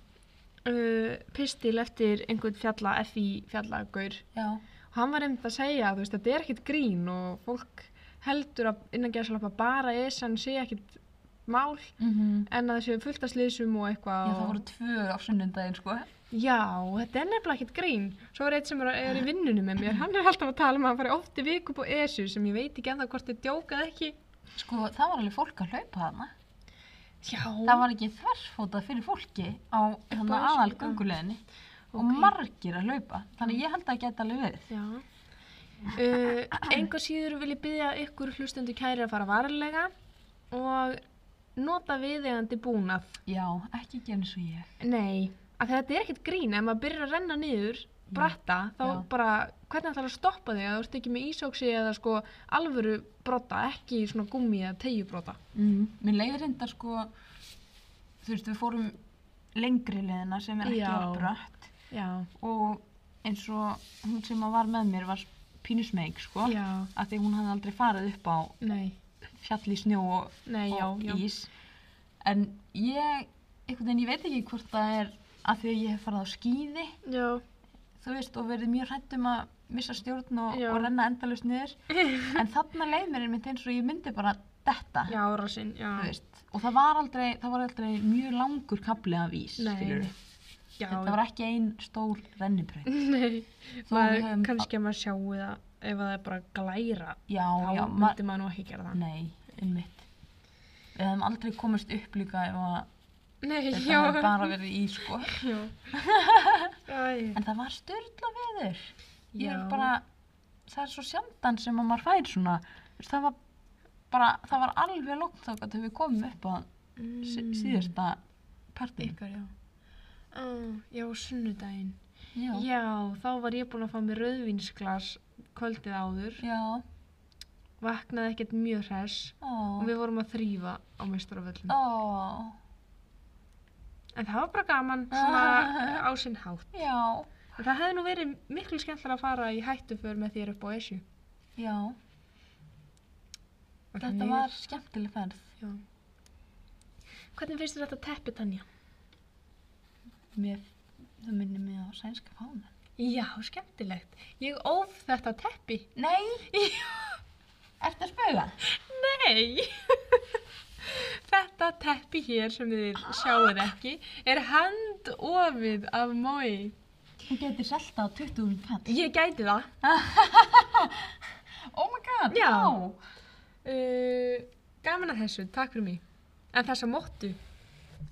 B: uh, pistil eftir einhvern fjalla, FI fjallagaur
A: Já,
B: og hann var einmitt að segja að þú veist, þetta er ekkit grín og fólk heldur að innan geðsalapa bara esan sé ekkit mál
A: mhm.
B: en að það séu fullt að slísum og eitthvað
A: Já, það
B: og-
A: voru tvö á sunnundaginn, sko.
B: Já, þetta er nefnilega ekkert grín. Svo er eitt sem er, er í vinnunum með mér, hann er alltaf að tala um að fara oft í viku upp á ESU sem ég veit ekki ennþá hvort þið djókað ekki.
A: Sko, það var alveg fólk að hlaupa þarna.
B: Já,
A: Það var ekki þversfótað fyrir fólki á þannig
B: Esjuna.
A: aðal gunguleginni og
B: Ok.
A: margir að hlaupa. Þannig ég held að það geta alveg verið.
B: Já. Uh, engar síður vil ég byggja ykkur hlustendu kæri að fara varlega og nota viðegandi búnað.
A: Já, ekki gera eins og ég.
B: Nei, að þetta er ekkert grín, ef maður byrjar að renna niður, bratta, þá
A: Já.
B: bara, hvernig ætlar að stoppa þig að þú ert ekki með ísóksi eða sko alvöru brotta, ekki svona gummi eða tegjubrotta.
A: Mm. Mér leiðir enda, sko, þú veist, við fórum lengri leiðina sem er ekki
B: Já.
A: að brött
B: Já.
A: og eins og hún sem að var með mér var pínusmeik, sko.
B: Já.
A: að því hún hafði aldrei farið upp á
B: Nei,
A: fjall í snjó og,
B: nei, já,
A: og
B: já.
A: ís en ég, einhvern veginn, ég veit ekki hvort það er að því að ég hef farið á skíði
B: Já,
A: þú veist og verið mjög hrætt um að missa stjórn og,
B: Já.
A: og renna endalust niður en þarna leið mér einmitt eins og ég myndi bara detta
B: já, rassinn, já.
A: þú veist og það var aldrei, það var aldrei mjög langur kapli af ís
B: Nei,
A: skilurðu.
B: já.
A: þetta var ekki ein stór rennibraut
B: Nei,
A: Þó við
B: maður,
A: höfum-
B: kannski að maður sjáu það ef það er bara glæra,
A: já,
B: þá
A: já, ma-
B: myndi maður nú ekki gera það.
A: nei, einmitt við hefum aldrei komist upp líka ef að
B: Nei, já.
A: þetta hefði bara verið í sko
B: Já. Æ,
A: En það var styrla veður. Ég er
B: já.
A: bara, það er svo sjandan sem að maður fær svona. Þú veist, Það var bara, það var alveg lókn þá að við komum upp á
B: Mm.
A: sí síðasta partí.
B: Ykkar, já. Á, já, sunnudaginn.
A: Já.
B: Já. þá var ég búin að fá mér rauðvinsglas kvöldið áður.
A: Já.
B: Vaknaði ekkert mjög hress
A: Ó.
B: og við vorum að þrýfa á meistaravöllum.
A: Ó.
B: En það var bara gaman, svona á sinn hátt.
A: Já.
B: En það hefði nú verið miklu skemmtilega að fara í hættuför með þér upp á Esju.
A: Já.
B: Og
A: Þetta
B: þannig-
A: var skemmtileg ferð.
B: Já. Hvernig finnst þér þetta teppi, Tanja?
A: Mér, það minnir mig á sænska fána.
B: Já, skemmtilegt. Ég óf þetta teppi.
A: Nei. Ertu að spöga?
B: Nei! þetta teppi hér sem þið sjáuð ekki er handofið af mói.
A: Þú getur selta á 20 kall.
B: Ég gæti það.
A: Oh my god.
B: Já.
A: vá.
B: Uh, gaman að þessu, takk fyrir mig. En þessa móttu,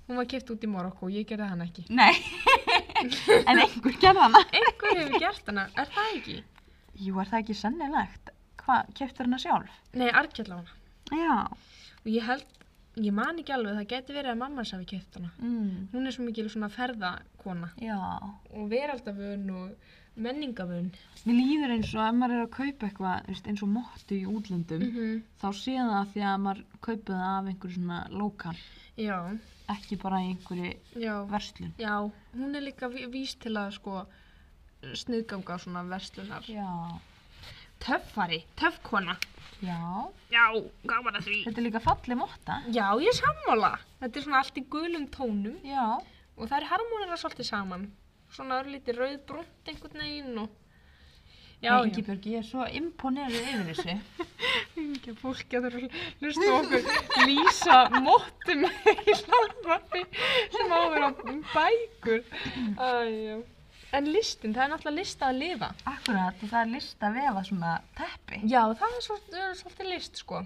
B: hún var kipt út í Marokko, ég gerði hann ekki.
A: Nei, en einhver gerði hana.
B: Einhver hefur gert hana, er það ekki?
A: Jú, er það ekki sennilegt? Hvað, keftur hana sjálf?
B: Nei, Arnkell á hana.
A: Já.
B: Og ég held, ég man ekki alveg, það geti verið að mamma hans hafi keipt hana.
A: Mm.
B: Hún er svo mikil svona ferðakona
A: Já.
B: og veraldavön og menningavön.
A: Mér líður eins og ef maður er að kaupa eitthvað, þú veist, eins og móttu í útlöndum,
B: -hmm.
A: þá sé það af því að maður kaupa það af einhverju svona lokal,
B: Já,
A: ekki bara í einhverju
B: já,
A: verslun.
B: já, hún er líka ví- vís til að sko snuðganga svona verslunar.
A: Já.
B: Töffari, töffkona.
A: Já.
B: Já, gaman að því.
A: Þetta er líka falli mótta.
B: Já, ég er sammála. Þetta er svona allt í gulum tónum
A: Já.
B: og það er harmonera svolítið saman. Svona örlítið rauðbrúnt einhvern veginn og... Já,
A: Nei, Ingibjörg, ég er svo imponerið yfir þessu.
B: Ekki að fólk getur að hlusta á okkur lýsa móttum í hlaðvarpi sem á að vera bækur. Æjá. En listin, það er náttúrulega list að lifa.
A: Akkurat, og það er list að vefa svona teppi.
B: Já, það er svolítið, svolítið list, sko.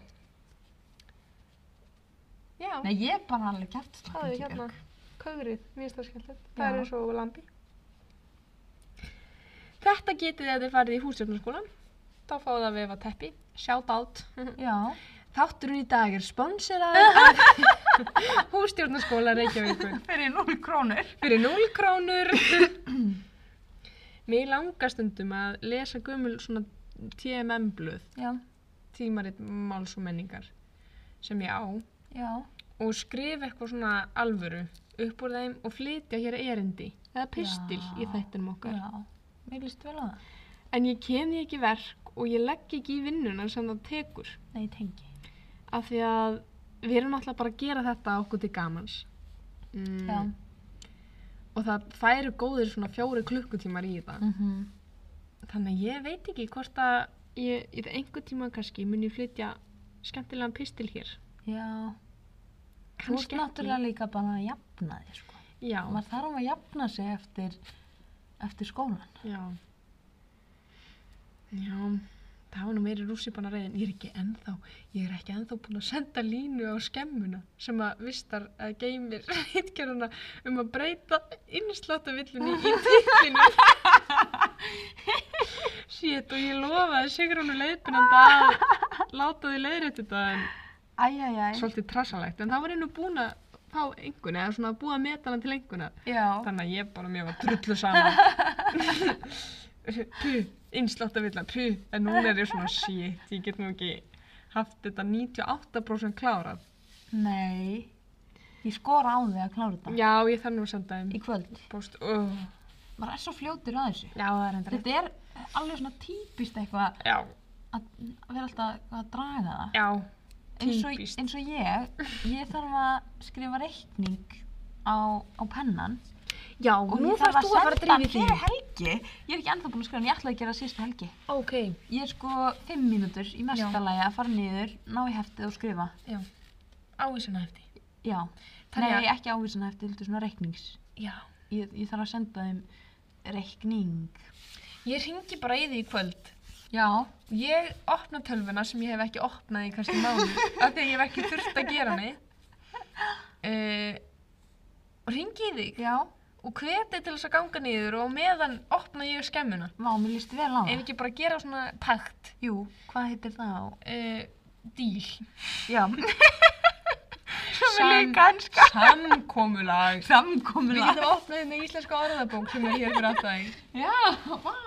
B: Já,
A: Nei, ég er bara alveg kæft
B: það er hérna kögrið, mér finnst það skemmtilegt. Það
A: Já.
B: er eins og lambi. Þetta getið þið að þið farið í húsjöfnarskólan. Þá fáið það að vefa teppi. Shout out.
A: Já.
B: Þátturinn í dag er sponsoraður af hússtjórnarskóla Reykjavíkur.
A: Fyrir 0 krónur.
B: Fyrir 0 krónur. Mér langar stundum að lesa gömul svona TMM-blöð,
A: Já,
B: tímarit máls og menningar, sem ég á
A: já.
B: og skrifa eitthvað svona alvöru upp úr þeim og flytja hér erindi eða pistil
A: Já.
B: í þættinum okkar.
A: Já. Mér líst vel á það.
B: En ég kem því ekki í verk og ég legg ekki í vinnuna sem það tekur
A: Nei, tengi.
B: af því að við erum alltaf bara að gera þetta okkur til gamans. Mm.
A: Já.
B: Og það færi góðir svona fjóri klukkutímar í þetta.
A: Mm -hmm.
B: Þannig að ég veit ekki hvort að ég, ég einhver tíma kannski mun ég flytja skemmtilegan pistil hér.
A: Já. Þú ert
B: Kannski
A: náttúrulega líka bara að jafna þig, sko.
B: Já,
A: Maður þarf að jafna sig eftir, eftir skólan.
B: já. Já, það var nú meiri rússipanna reyðin. Ég er ekki ennþá, ég er ekki ennþá búin að senda línu á skemmuna sem að vistar að geymir hittgerðuna um að breyta innslátavillunni í titlinu. Shit, og ég lofaði Sigrúnu leiðbyrnanda að láta því leiðrétt þetta en
A: Æj, æj, æj.
B: svolítið trassalegt, en það var einu búin að fá einhvern, eða svona búið að meta hana til einhvern
A: Já.
B: þannig að ég bara mér var drullu saman puh, einslátt að vilja, puh en núna er ég svona shit, ég get nú ekki haft þetta 98% klárað
A: Nei. Ég skora á þig að klára þetta.
B: já, ég þarf nú að senda þeim
A: Í kvöld.
B: post, uh,
A: Maður er svo fljótur að þessu.
B: já, það er enda rétt
A: Þetta er alveg svona típist eitthvað
B: já,
A: að að vera alltaf að draga það.
B: já,
A: Eins og,
B: típist.
A: eins og ég, ég þarf að skrifa reikning á, á pennan
B: já,
A: og
B: nú
A: ég þarf
B: þarfst þú að fara að
A: senda hann
B: drífa í því
A: fyrir helgi. Ég er ekki ennþá búin að skrifa en ég ætlaði að gera það síðustu helgi.
B: ok,
A: Ég er sko fimm mínútur í
B: Já.
A: mesta lagi að fara niður, ná í heftið og skrifa.
B: já ávísuna eftir,
A: Já.
B: Þannig að-
A: Nei, ekki ávísan heftið, heldur svona reiknings.
B: já
A: Ég, ég þarf að senda þeim reikning.
B: ég ringi bara í því í kvöld
A: Já.
B: Ég opna tölvuna sem ég hef ekki opnað í kannski mánu af því að ég hef ekki þurft að gera mig uh, og ringi í þig
A: Já.
B: og hveti til þess að ganga niður og á meðan opna ég skemmuna
A: Vá, mér líst vel á
B: ef
A: það.
B: ekki bara gera svona pakt
A: Jú, hvað heitir það á?
B: uh, díl
A: Já.
B: Sam-
A: kannska.
B: samkomulag
A: Samkomur
B: Við getum opnað hérna íslenska orðabók sem er hér fyrir alltaf
A: Já, vá.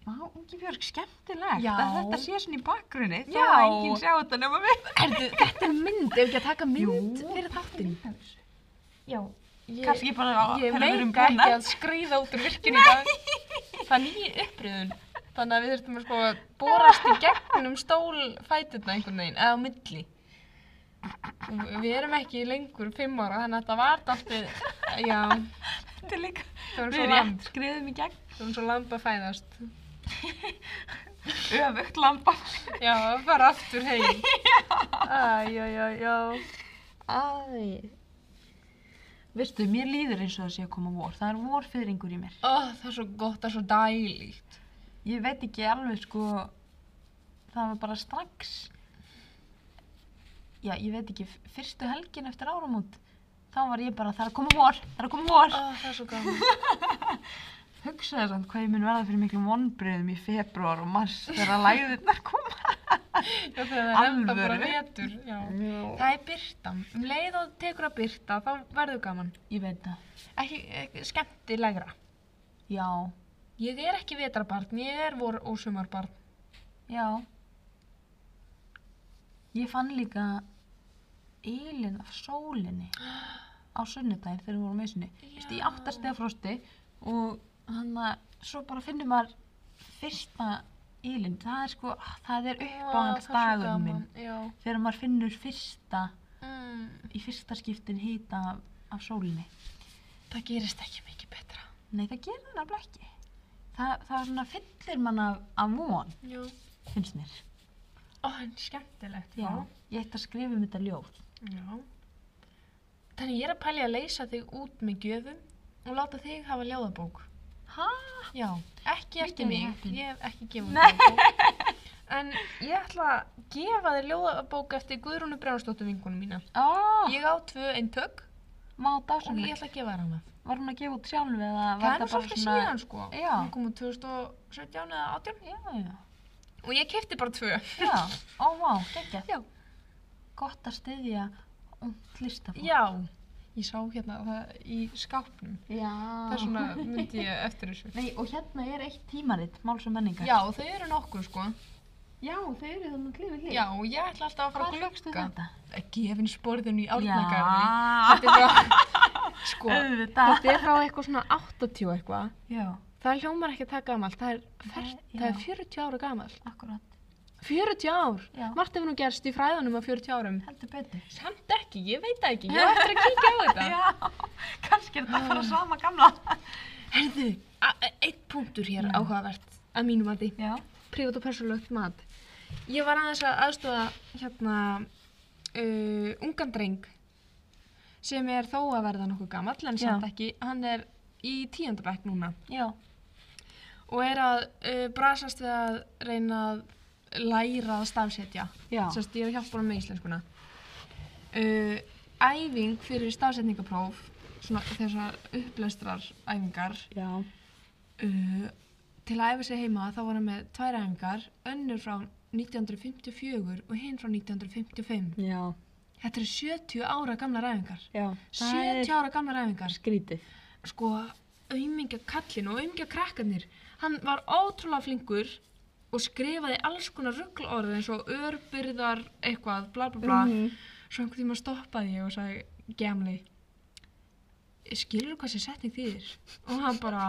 A: Vá, ungi Björg, skemmtilegt.
B: Já.
A: Að þetta sé svona í bakgrunni. Þó
B: Já.
A: að enginn sjá þetta nema við.
B: Ertu, þetta er mynd, ef ekki að taka
A: Já.
B: Ég,
A: Kanski bara á
B: ég
A: þegar við erum
B: meika ekki
A: búnar.
B: að skrýða út úr virkinu í dag. Það er nýju uppröðun. Þannig að við þurfum að sko borast í gegnum stólfætuna einhvern veginn, eða á milli. Og Við erum ekki lengur fimm ára, þannig að þetta var alltaf, já,
A: Þetta er líka.
B: það var
A: Við
B: svo
A: erum
B: lamb,
A: rétt skriðum í gegn.
B: það var svo lamb að fæðast.
A: Öfugt lampa.
B: Já, bara aftur heim. Æ, já, já, já.
A: Æ. Veistu, mér líður eins og það sé að koma vor. Það er vorfyrringur í mér.
B: Ó, það er svo gott, það er svo dælíkt.
A: Ég veit ekki alveg sko, það var bara strax, já ég veit ekki, f- fyrstu helgin eftir áramót, þá var ég bara það er að koma vor, það er að koma vor.
B: Ó, það er svo gaman.
A: Hugsaði samt hvað ég mun verða fyrir miklum vonbröðum í februar og mars þegar læðirnar koma.
B: Já, þegar það er enda bara
A: Alvöru.
B: vetur, já. Það er byrta. Um leið og tekur að byrta, þá verður gaman.
A: Ég veit það,
B: Ekki, ekki skemmtilegra.
A: já,
B: Ég er ekki vetrabarn, ég er vor og sumarbarn.
A: já. Ég fann líka ylinn af sólinni á sunnudaginn þegar við vorum með sinni. Þú veist, í áttastega frosti og hann að svo bara finnir maður fyrsta ílinn, það er sko, ah, það er uppáhalds dagurinn minn
B: Já.
A: þegar maður finnur fyrsta,
B: Mm,
A: í fyrsta skiptin hýta af, af sólinni.
B: það gerist ekki mikið betra.
A: Nei, það gerir það nefnilega ekki. Það, það er svona fyllir mann af, af von,
B: Já.
A: finnst mér.
B: Ó, en skemmtilegt.
A: Ég ætti að skrifa um þetta ljóð.
B: Já. Þannig ég er að pæli að leysa þig út með gjöfum og láta þig hafa ljóðabók.
A: Hæ?
B: Já, ekki
A: Mikið
B: eftir mig,
A: heppin.
B: ég hef ekki gefið ljóðabók. En ég ætla að gefa þér ljóðabók eftir Guðrúnu Brjánsdóttur vingunum mína.
A: Ó,
B: Ég á tvö eintök
A: má
B: og ég
A: dásamlega.
B: ætla að gefa þér hana.
A: var hún að gefa út sjálf eða var
B: það er nú svolítið síðan sko
A: Já.
B: hún kom úr 2017 eða 18
A: Já, já,
B: og ég kefti bara tvö
A: já, ó, vá, geggja
B: Já.
A: Gott að styðja ungt listafólk
B: já, ég sá hérna það í skápnum
A: já.
B: það er svona myndi ég eftir þessu
A: Nei, og hérna er eitt tímaritt, Máls og menningar
B: já, þau eru nokkur sko
A: já þau eru þannig klifið
B: já, og ég ætla alltaf að fara
A: Hvar
B: að
A: fegstu
B: glugga
A: þetta?
B: gefin sporðinu í árnagarði
A: Já,
B: þetta er frá sko,
A: auðvitað
B: þetta er frá eitthvað svona 80 eitthvað
A: Já,
B: það er hljómar ekki það gamalt það er, fer,
A: Nei,
B: það er
A: já.
B: 40 ára gamalt
A: akkurat
B: 40 ár,
A: Já.
B: margt hefur nú gerst í fræðunum á 40 árum
A: Heldur betur
B: samt ekki, ég veit það ekki, ég á eftir að kíkja á þetta
A: Já, kannski er þetta bara sama gamla
B: herðu, eitt punktur hér
A: Já.
B: áhugavert að mínu mati,
A: Já,
B: prívat og persónlögt mat ég var aðeins að aðstofa hérna uh, ungan dreng sem er þó að verða nokkuð gamall en
A: Já.
B: samt ekki, hann er í tíundabæk núna
A: já,
B: og er að uh, brasast við að reyna að læra að stafsetja
A: já
B: Sérst, ég er að hjálpa honum með íslenskuna. Uh, æfing fyrir stafsetningapróf, svona þessar upplestrar æfingar,
A: Já,
B: uh, til að æfa sig heima þá var hann með tvær æfingar, önnur frá 1954 og hinn frá 1955.
A: já,
B: Þetta eru 70 ára gamlar æfingar.
A: já
B: 70 ára gamlar æfingar.
A: skrítið
B: Sko, aumingja kallin og aumingja krakkarnir. Hann var ótrúlega flinkur og skrifaði alls konar rugglaorð eins og örbyrðar eitthvað, bla bla
A: Mhm.
B: bla. Svo einhvern tíma stoppaði ég og sagði Gemli Skilur þú hvað sem setning þýðir? Og hann bara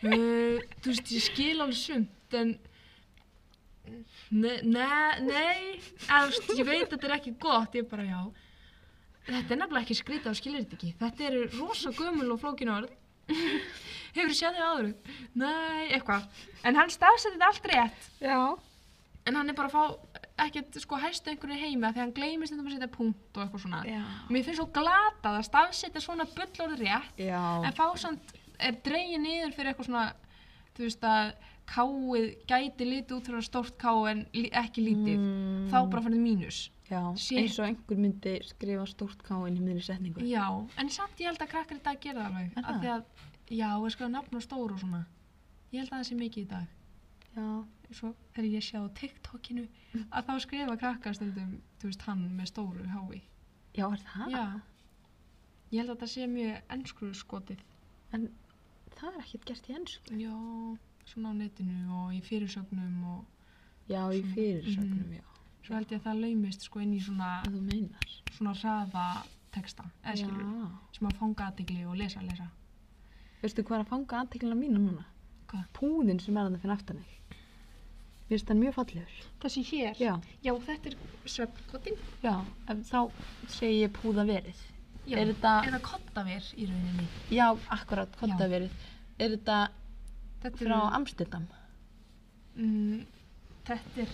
B: "Uh, Þú veist, ég skil alveg sumt En Nei, nei, nei eða, þú veist, Ég veit að þetta er ekki gott Ég bara, já Þetta er nefnilega ekki skrítið og skilur þetta ekki Þetta eru rosa gömul og flókin orð Hefur séð þau áður? Nei, eitthvað En hann stafsætti þetta allt rétt
A: Já
B: En hann er bara að fá ekkert sko hæstu einhverju heima því hann gleymist þetta að setja punkt og eitthvað svona.
A: Já,
B: Mér finnst svo glatað að stafsetja svona bullorð rétt
A: já,
B: en fá samt er dreigið niður fyrir eitthvað svona, þú veist að káið gæti litið út fyrir stórt ká en lí- ekki lítið.
A: Mm.
B: Þá bara fyrir mínus.
A: já.
B: Shit.
A: eins og einhver myndi skrifa stórt káinn í miðri setningu
B: Já, en samt ég held að krakkar í dag gera það alveg.
A: Er
B: af
A: það?
B: því að, já, er sko nafn og stór og svona. Ég held að það sé mikið í dag.
A: Já,
B: Svo þegar ég sé á TikTokinu að þá skrifa krakkar stundum, þú veist, hann með stóru hái.
A: já er það?
B: Já, ég held að þetta sé mjög ennskruðu skotið.
A: En það er ekkert gert í ennsku
B: Já, svona á netinu og í fyrirsögnum og
A: Já, í
B: Svona.
A: fyrirsögnum,
B: Mhm.
A: já
B: svo held ég að það laumist sko inn í svona,
A: Að þú meinar
B: svona hraða texta, eða skilur, sem að fanga aðdegli og lesa, lesa.
A: Veistu hvað er að fanga aðteklina mína núna?
B: Hvað?
A: Púðin sem er að það finna aftan þig Mér finnst hann mjög fallegur
B: Þessi hér,
A: Já,
B: þetta er svefnkotin.
A: já, en þá segi ég púða verið
B: Já,
A: Er þetta-
B: eða kottavér í rauninni.
A: Já, akkurat, kotta verið Er þetta
B: Þetta
A: frá Amstendam?
B: Mm, þetta er,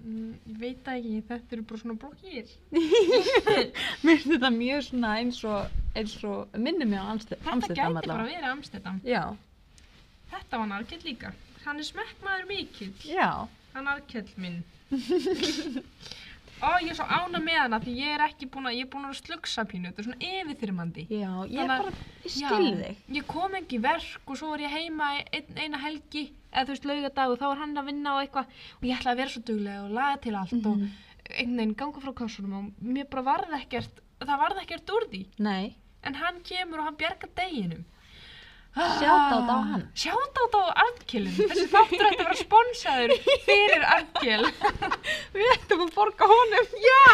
B: mm, ég veit það ekki, þetta eru bara svona blokkir.
A: Mér finnst þetta mjög svona eins og, eins og minnir mig á Amste-
B: Þetta
A: Amsterdam
B: gæti bara verið Amstedam.
A: Já,
B: Þetta var narkett líka. Hann er smekkmaður mikill.
A: já,
B: Hann aðkjöld minn. Ó, ég er svo ána með hana því ég er ekki búin að, ég er búin að slugsa pínu, þetta er svona yfirþyrmandi.
A: já, ég
B: Þannig að-
A: bara, ég skil þig.
B: Ég kom ekki í verk og svo er ég heima ein, eina helgi, eða þú veist, laugadag og þá er hann að vinna og eitthvað og ég ætla að vera svo duglega og laga til allt
A: Mhm.
B: og einhvern veginn ganga frá kásunum og mér bara varð ekkert, það varð ekkert úr því.
A: Nei,
B: En hann kemur og hann bjargar deginum.
A: Shoutout á hann.
B: Sjátátt á Arnkjölinn. Þessi þáttur ætti að vera sponsaður fyrir Arnkjöl.
A: við ættum að borga honum.
B: Já!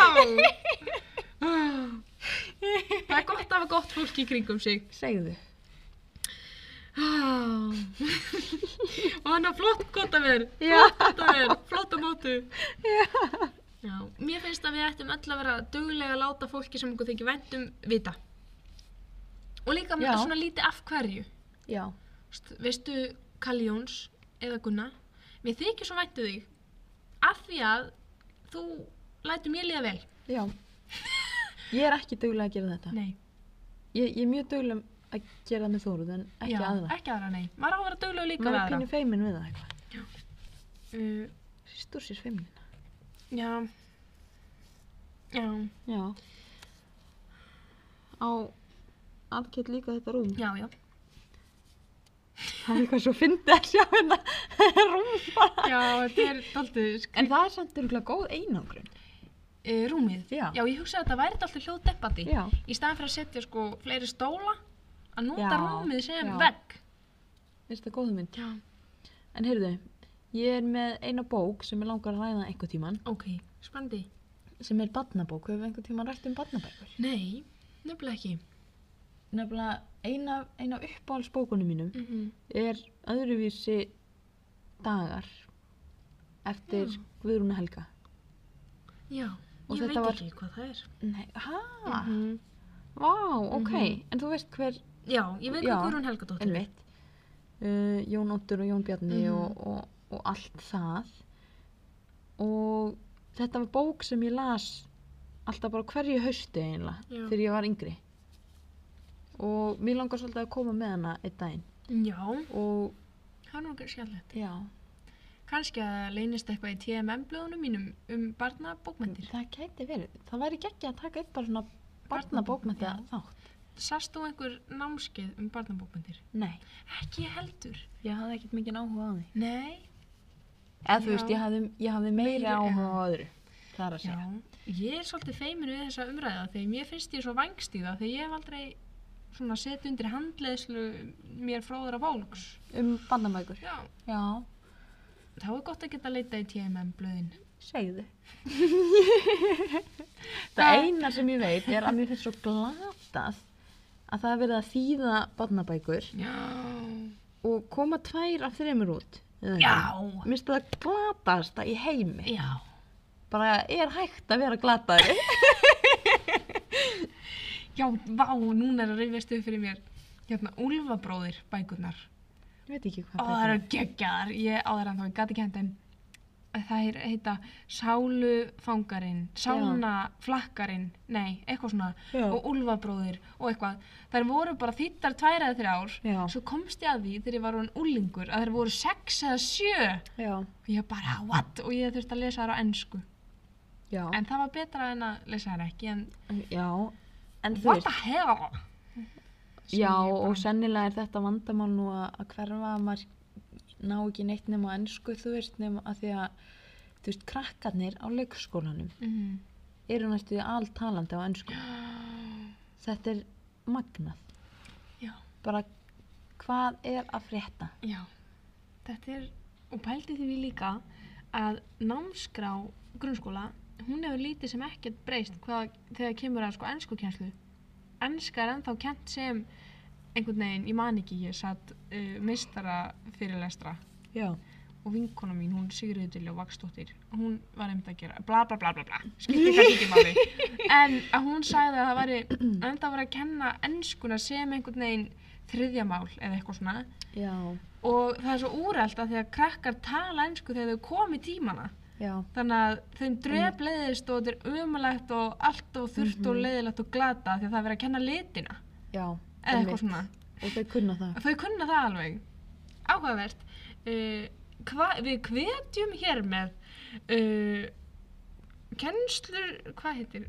B: Það er gott að hafa gott fólk í kringum sig.
A: Segðu.
B: Og hann er flott gott að vera.
A: Já.
B: Gott að vera. Flott á mótu. Já. Mér finnst að við ættum öll að vera duglega að láta fólki sem okkur þykir væntum vita. Og líka með
A: Já.
B: svona lítið af hverju.
A: Já,
B: St- Veistu Kalli Jóns eða Gunna? Mér þykir svo væntu þig. Af því að þú lætur mér liða vel.
A: já. Ég er ekki duglega að gera þetta.
B: Nei.
A: Ég, ég er mjög duglega að gera það með Þóruð, en ekki
B: Já,
A: aðra.
B: Ekki aðra, nei. Maður á að vera duglegur líka
A: Maður
B: við
A: er
B: aðra.
A: pínu feimin við það eitthvað.
B: Uh,
A: Sýstur sér feiminina.
B: já. Já.
A: Já. Á, á Arnkell líka þetta rúm?
B: Já, já.
A: Það er eitthvað svo fyndið að sjá hérna rúm bara.
B: Já, þetta er daldið sk
A: En það er samt örgulega góð einangrun.
B: uh, rúmið.
A: Já.
B: já, ég hugsaði að þetta væri alltaf hljóðdeppandi.
A: Já.
B: Í staðan fyrir að setja sko fleiri stóla, að nota
A: Já,
B: rúmið sem
A: já.
B: vegg.
A: Mér finnst það góð mynd.
B: Já.
A: En heyrðu, ég er með eina bók sem ég langar að ræða einhver tíman,
B: Ok, spandi.
A: sem er badnabók. Hefur einhver tíman rætt um badnabækur?
B: Nei, nefnilega ekki.
A: Nefnilega, eina, eina uppáhaldsbókunum mínum
B: Mm -hmm.
A: er öðruvísi dagar eftir
B: Já.
A: Guðrúnu Helga.
B: Já,
A: Og
B: ég
A: þetta
B: veit
A: var-
B: ekki hvað það er.
A: Nei, hæ?
B: -hmm.
A: Mhm. Vá, ok.
B: Mhm.
A: En þú veist hver
B: Já, ég veit
A: Já.
B: hvað Guðrún Helgadóttir er.
A: Einmitt. Uh, Jón Óttur og Jón Bjarni
B: Mhm.
A: og, og, og allt það. Og þetta var bók sem ég las alltaf bara hverju hausti einlega
B: Já.
A: þegar ég var yngri. Og mér langar svolítið að koma með hana einn daginn.
B: Já,
A: Og
B: það er nú ekki skemmtilegt.
A: já,
B: Kanski að leynist eitthvað í TMM-blöðunum mínum um barnabókmyndir.
A: það gæti verið. Það væri geggja að taka upp bara svona
B: Barnabók,
A: barnabókmynda
B: já.
A: þátt.
B: Sast þú einhver námskeið um barnabókmyndir?
A: Nei,
B: Ekki heldur.
A: ég hafði ekkert mikið áhuga á því.
B: Nei.
A: Eða þú
B: Já.
A: veist, ég hafði, ég hafði meiri
B: Meiri,
A: áhuga
B: já.
A: á öðru. Það er að segja.
B: Já, ég er svolítið feimin við þessa umræða þegar mér finnst ég svo vangst í það þegar ég hef aldrei svona sett undir handleðslu mér fróðara fólks.
A: Um bandamækur.
B: Já,
A: Já.
B: þá er gott að geta leita í TMM blöðin.
A: segðu það
B: Það-
A: eina sem ég veit er að mér finnst svo glatað að það er verið að þýða barnabækur
B: Já.
A: og koma tvær af þreymur út eða ekki?
B: Já.
A: mér finnst það glataðasta í heimi
B: Já.
A: bara er hægt að vera glataði
B: Já, vá, núna er að reyfist upp fyrir mér. Hérna, Úlfabróðir bækurnar.
A: ég veit ekki
B: Ó,
A: hvað
B: það eru
A: er
B: geggjaðar. Ég á þeirra en þá, ég gati ekki hendt en það er, heita Sálufangarinn, Sánaflakkarinn, nei, eitthvað svona.
A: Já.
B: Og Úlfabróðir og eitthvað. Þær voru bara þýttar tvær eða þrjár.
A: Já.
B: Svo komst ég að því þegar ég var hún úlingur að þær voru sex eða sjö.
A: já,
B: Og ég bara, what? Og ég þurfti að lesa þær á ennsku.
A: já,
B: En það var betra en að lesa þær ekki. En
A: já en þú
B: what
A: veist
B: the hell? Sem
A: já
B: ég bara-
A: og sennilega er þetta vandamál nú að, að hverfa að maður ná ekki neitt nema á ensku þú veist nema að því að þú veist krakkarnir á leikskólanum
B: Mhm.
A: eru næstu alltalandi á ennsku. Þetta er magnað.
B: Já.
A: Bara hvað er að frétta?
B: Já, þetta er, og pældi því líka að námskrá grunnskóla, hún hefur lítið sem ekkert breyst hvað, þegar kemur að sko ennskukjenslu. Ennska er ennþá kent sem einhvern veginn, ég man ekki, ég satt uh, mistara fyrirlestra
A: Já.
B: og vinkona mín, hún Sigriður Dilljó Vaksdóttir, hún var einmitt að gera bla bla bla bla bla, skipti ekki ekki máli en að hún sagði að það væri enda að vera að kenna ennskuna sem einhvern veginn þriðjamál eða eitthvað svona
A: Já.
B: og það er svo úrælt að því að krakkar tala ennsku þegar þau kom í tímana
A: Já.
B: þannig að þeim dröf leiðist og þetta er umulegt og allt og þurft og
A: Mhm.
B: leiðilegt og glata því að það er verið að kenna litina
A: Já.
B: eða
A: einmitt.
B: eitthvað svona
A: Og þau kunna það.
B: þau kunna það alveg áhugavert uh, hva, við hvetjum hér með uh, kennslur hvað heitir?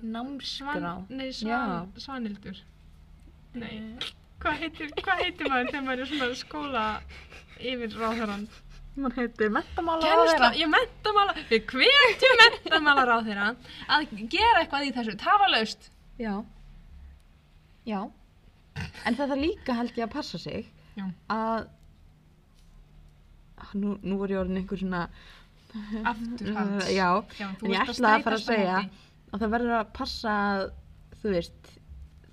A: Námsgrá.
B: Svan, nei, svan, svanildur nei, hvað heitir, hvað heitir maður þegar maður er svona skóla yfir ráðherran
A: Man heitir mentamála
B: Kennsla, ég mentamála, við hvetjum mentamálar á þeirra að gera eitthvað í þessu, tafalaust.
A: Já. Já. En þetta líka held ég að passa sig
B: Já.
A: að Ah, Nú, nú voru ég orðin einhver svona
B: Aftur hans.
A: Eh, Já,
B: Já, þú
A: en ég
B: ert
A: ætlaði að fara að
B: streitast á
A: segja
B: móti.
A: að það verður að passa að, þú veist,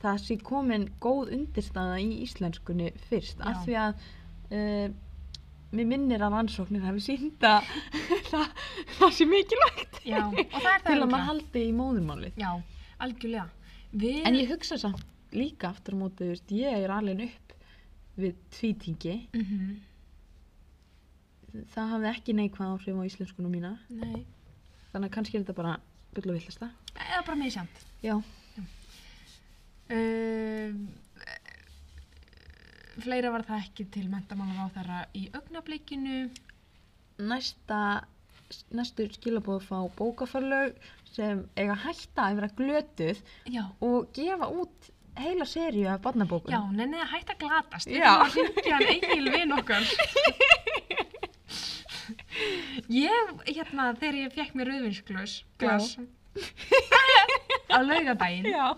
A: það sé komin góð undirstaða í íslenskunni fyrst, af
B: Já.
A: því að uh, mér minnir að rannsóknir hafi sýnda það, það sé mikilvægt
B: Já, og það er það
A: til að
B: líka.
A: maður haldi í móðurmálið.
B: Já, algjörlega. Við,
A: En ég hugsa samt líka aftur á móti, þú veist, ég er alveg upp við tvítingi,
B: Mhm,
A: það hafði ekki neikvæð áhrif á íslenskunum mína,
B: nei,
A: þannig að kannski er þetta bara byggla villasta.
B: eða bara misjönd.
A: Já,
B: Um, fleira var það ekki til mentamálar á þeirra í augnablikinu.
A: næsta næstu skilabóð fá bókafarlög sem eiga að hætta að vera glötuð
B: Já,
A: og gefa út heila seríu af barnabókum.
B: Já, nennið að hætta að glatast.
C: Já.
B: Við erum að hringja hann eigin vinn okkar. Ég, hérna, þegar ég fekk mér rauðvinsklaus, glas, á laugardaginn,
C: Já.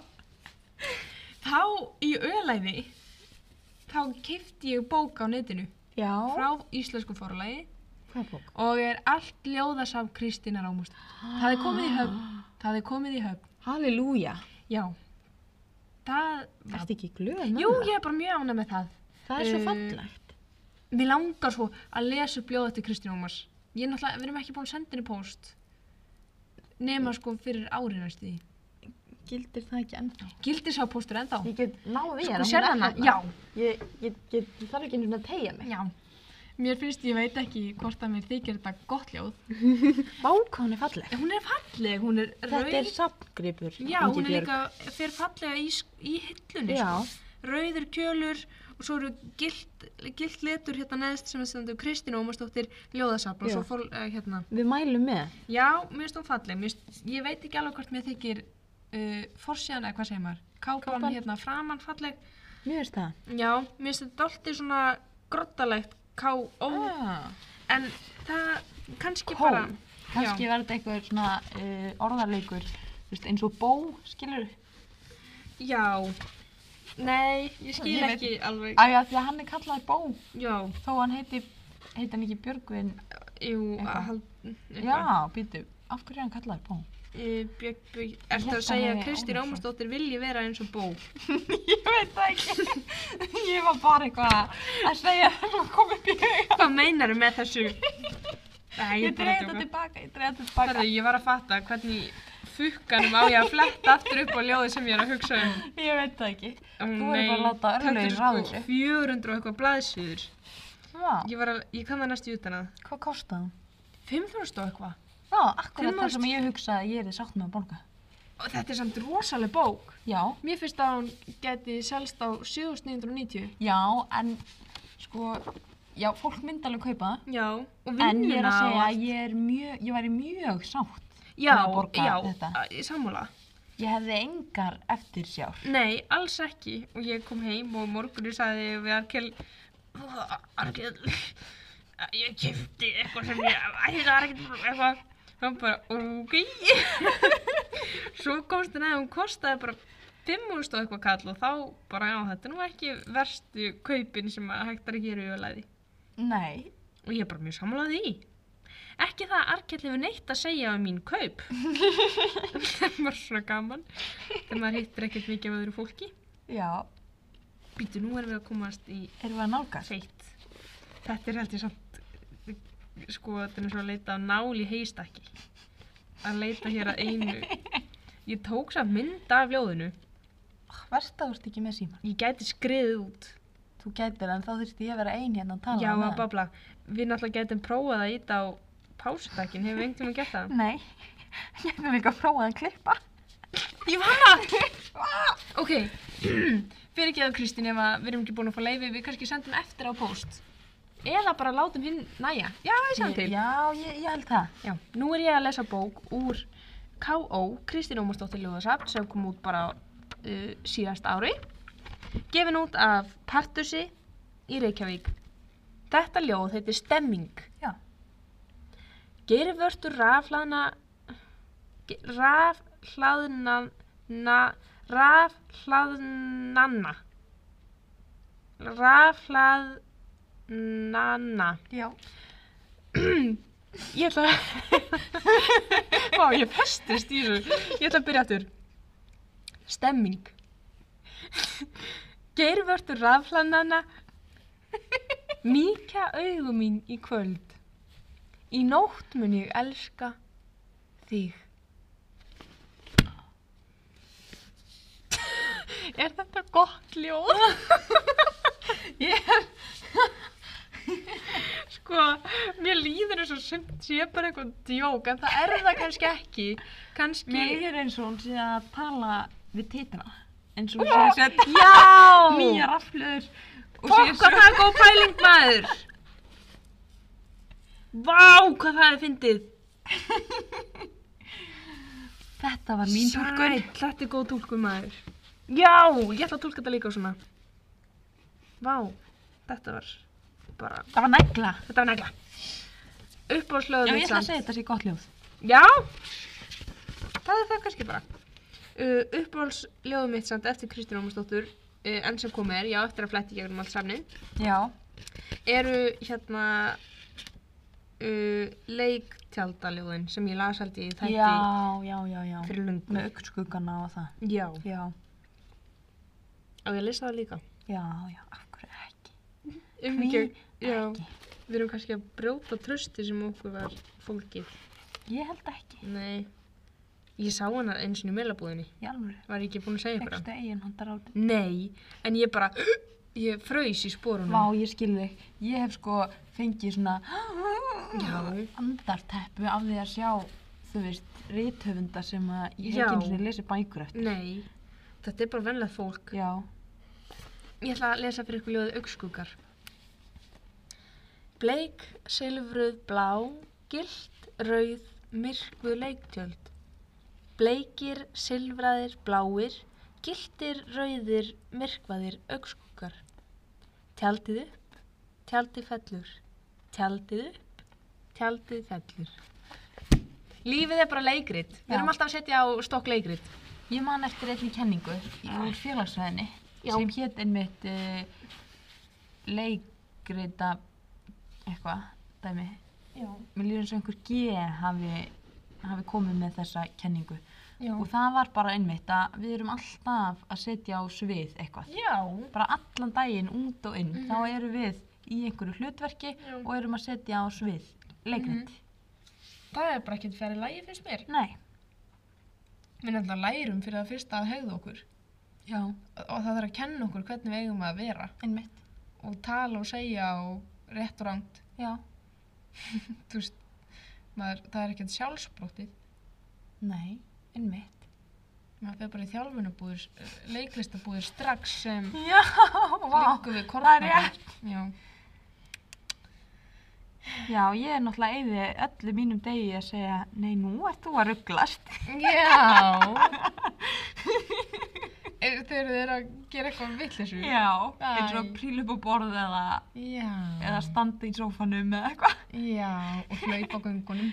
B: þá í ölæði, þá kefti ég bók á netinu
A: Já.
B: frá íslensku forlægi
A: Hvað er bók?
B: og er allt ljóðasafn Kristínar Ámúst. Það er komið í höfn, það er komið í höfn,
A: Halleluja.
B: já. Það var...
A: Ertu ekki glöð með
B: Jú,
A: það?
B: ég er bara mjög ánæg með það.
A: Það er svo
B: Eh,
A: fallegt.
B: Mér langar svo að lesa upp ljóð eftir Kristín Ómars. Ég er náttúrulega, við erum ekki búin að senda henni post. Nema sko fyrir árið næstu því.
A: Gildir það ekki ennþá?
B: Gildir sá postur ennþá.
A: Ég get náð í
B: Sko
A: hana. hún
B: sérð
A: er
B: hana?
A: þarna.
B: Já,
A: Ég, ég, ég, ég þarf ekki einhvern veginn að tegja mig.
B: já. Mér finnst, ég veit ekki hvort að mér þykir þetta gott ljóð.
A: Bák hún er falleg.
B: En Hún er falleg, hún er Mm. rauð.
A: Þetta er safngripur.
B: Já, hún er líka, fyrir fallega í, sk- í hillunni.
A: Já,
B: sko. Rauður kjölur og svo eru gilt, gilt letur hérna neðst sem er stendur Kristín Ómarsdóttir ljóðasafn og
A: Já.
B: svo fór, uh, hérna,
A: við mælum með.
B: Já, mér finnst hún falleg. Mér finnst, ég veit ekki alveg hvort mér þykir uh, forsíðan eða hvað segir maður. Kápan
A: Kápan.
B: hérna framann falleg.
A: Mjög veist það.
B: Já, mér finnst þetta alltaf svona grottalegt ká ó.
A: Ah.
B: En það kannski
A: Kó.
B: bara...
A: Kanski var þetta einhver svona uh, orðarleikur, þú veist, eins og bó, skilur.
B: Já. Nei, ég skil
A: Ég veit
B: ekki alveg.
A: Æja, því að hann er kallaði bó,
B: Já,
A: þó hann heiti, heiti hann ekki Björgvin.
B: jú,
A: Eitthvað.
B: að hald... eitthvað.
A: Já, býtu, af hverju er hann kallaði bó?
B: Eh, Björg, björg,
A: hélt
B: ertu að
A: að
B: segja
A: hann
B: að
A: hefði
B: Kristín
A: Ómarsson.
B: Ómarsdóttir vilji vera eins og bó?
A: Ég veit það ekki, ég var bara eitthvað að segja það sem kom upp í huga.
B: Hvað meinaru með þessu?
A: Ég
B: Nei, er bara
A: dreif
B: að djóka.
A: þetta tilbaka, ég dreif þetta tilbaka.
B: Herðu, ég var að fatta hvernig fukkanum á ég að fletta aftur upp á ljóði sem ég er að hugsa um.
A: Ég veit það ekki.
B: Ó,
A: Þú verður bara að
B: nei,
A: láta
B: þetta
A: örlögin
B: eru
A: ráða þessu.
B: 400 og eitthvað blaðsýður.
A: Já,
B: Ég, var að, ég kann það næstu utan að.
A: hvað kostaði hann?
B: 500 og eitthvað.
A: Já, akkurat það
B: 500.
A: sem ég hugsaði að ég er í sátt með að borga.
B: Og þetta er samt rosaleg bók.
A: Já,
B: Mér finnst að hún geti selst á 7990.
A: já, en sko, já, fólk myndi alveg kaupa það.
B: Já, og vinnuna.
A: En ég er að segja
B: og-
A: að ég er mjög, ég væri mjög sátt.
B: já,
A: að borga
B: já,
A: þetta.
B: að- ég sammála.
A: Ég hefði engar eftir sjár.
B: Nei, alls ekki. Og ég kom heim og morgunni sagði ég við Arkel, Arkel, ég kefti eitthvað sem ég, ætla Arkel, eitthvað. Hann bara, ok. Svo komst hann að hún kostaði bara 5.000 og eitthvað kall og þá bara, já, þetta er nú ekki verstu kaupin sem að hægt er að gera í ölaði.
A: Nei.
B: Og ég er bara mjög samlað því. Ekki það að Arkell hefur neitt að segja um mín kaup. það var svona gaman. Þegar maður hittir ekkert mikið af öðru fólki.
A: Já.
B: Býtu, nú erum við að komast í
A: Erum við að nálgast?
B: feitt. Þetta er held ég samt, sko, þetta er eins og að leita af nál í heistakki. Að leita hér að einu. Ég tók samt mynd af ljóðinu.
A: Verst að þú ert ekki með síman.
B: Ég gæti skriðið út.
A: Þú gætir en þá þurfti ég að vera ein hérna að tala
B: Já,
A: á
B: að
A: meðan.
B: babla. Við náttúrulega gætum prófað að íta á pásutakkin. Hefur einhvern tímann gert það?
A: Nei. Ég hefði líka prófað að klippa.
B: Jóhanna! ok, fyrir ekki að Kristín ef að við erum ekki búin að fá leiði, við kannski sendum eftir á post. Eða bara látum hinn næja. Já, ég sem til.
A: Já, ég, ég held það.
B: Já, nú er ég að lesa bók úr K.O. Kristín Ómarsdóttir Ljóðasafn sem kom út bara uh, síðast ári. Gefin út af Partusi í Reykjavík. Þetta ljóð heitir Stemming.
A: Já.
B: Geirvörtur rafhlaðna ge- rafhlaðnanna rafhlaðnanna rafhlaðnanna
A: Já.
B: Ég ætla að Vá, ég festist í þessu Ég ætla að byrja aftur Stemming Geirvörtur rafhlaðnanna Mýkja augum mín í kvöld Í nótt mun ég elska þig. er þetta gott ljóð?
A: Ég
B: Sko, mér líður eins og sumt sé bara eitthvað djók, en það er það kannski ekki. Kannski...
A: Mér er eins og hún sé að tala við titra. Eins og hún sé
B: Já,
A: að setja
B: Já!
A: nýja raflur. og sé að
B: Fokk hvað það er góð pæling maður! Vá, hvað það er fyndið!
A: Þetta var mín túlkun.
B: Sæll, Þetta er góð tólkun maður. Já, ég ætla að tólka þetta líka svona. Vá, þetta var bara,
A: Það var negla.
B: þetta var negla.
A: Já,
B: Uppáhaldslöðu
A: ég ætla að segja þetta sé gott ljóð.
B: Já, það er það kannski bara. Uh, uppáhaldsljóðum mitt samt eftir Kristín Ómarsdóttur, uh, enn sem kom er, já, eftir að fletti gegnum allt samnið,
A: Já.
B: eru hérna uh, leiktjaldaljóðin sem ég las held í þætti
A: Já, já, já, já.
B: fyrir lungu.
A: Með augnskuggana og það.
B: Já,
A: Já,
B: og ég lesa það líka.
A: já, já, af hverju ekki?
B: Um
A: Hví
B: ekki, já,
A: ekki?
B: við erum kannski að brjóta trösti sem okkur var fólkið.
A: Ég held ekki.
B: Nei, ég sá hana eins og í meilabúðinni,
A: Í alvöru.
B: var ég ekki búin að segja ykkur það?
A: Fekstu eigin handar átt.
B: Nei, en ég bara, ég fraus í sporunum.
A: Vá, ég skil þig. Ég hef sko fengið svona
B: Já.
A: andarteppu af því að sjá, þú veist, rithöfunda sem að ég hef
B: Já.
A: ekki einu sinni lesið bækur eftir.
B: Nei, þetta er bara venlega fólk.
A: Já.
B: Ég ætla að lesa fyrir ykkur ljóðið augskúkar. Bleik, silfruð, blá, gilt, rauð, myrkvu leiktjöld. Bleikir, silfraðir, bláir, giltir, rauðir, myrkvaðir augskúkar. Tjaldið upp, tjaldið fellur, tjaldið upp, tjaldið fellur. Lífið er bara leikrit. Við
A: Já.
B: erum alltaf að setja á stokk leikrit.
A: Ég man eftir einni kenningu úr félagsfræðinni
B: Já.
A: sem hétt einmitt uh, leikreita eitthvað dæmi.
B: Já.
A: Mér líður eins og einhver G hafi, hafi komið með þessa kenningu
B: Já.
A: og það var bara einmitt að við erum alltaf að setja á svið eitthvað.
B: Já.
A: Bara allan daginn út og inn, þá erum við í einhverju hlutverki
B: Já.
A: og erum að setja á svið leikrit.
D: Það er bara ekkert færi lægi fyrst mér.
A: Nei.
D: Við náttúrulega lærum fyrir það fyrsta að hegða okkur
A: Já,
D: og það þarf að kenna okkur hvernig við eigum að vera
A: einmitt.
D: og tala og segja og rétt og rangt.
A: Já.
D: Þú veist, maður, það er ekkert sjálfsbróttið.
A: Nei, einmitt.
D: Maður fer bara í þjálfunabúðir, leiklistabúðir strax sem
A: Já, vá.
D: liggum við
A: það er
D: kornabúðir.
A: rétt.
D: Já.
A: Já, ég er náttúrulega eyði öllu mínum degi að segja, nei, nú ert þú að rugglast.
D: Já. er, þegar þið eru að gera eitthvað vittlisu.
A: Já, eins og
D: Æ.
A: að príla upp á borð eða,
D: Já.
A: eða standa í sófanum eða eitthvað.
D: Já, og hlaupa á göngunum.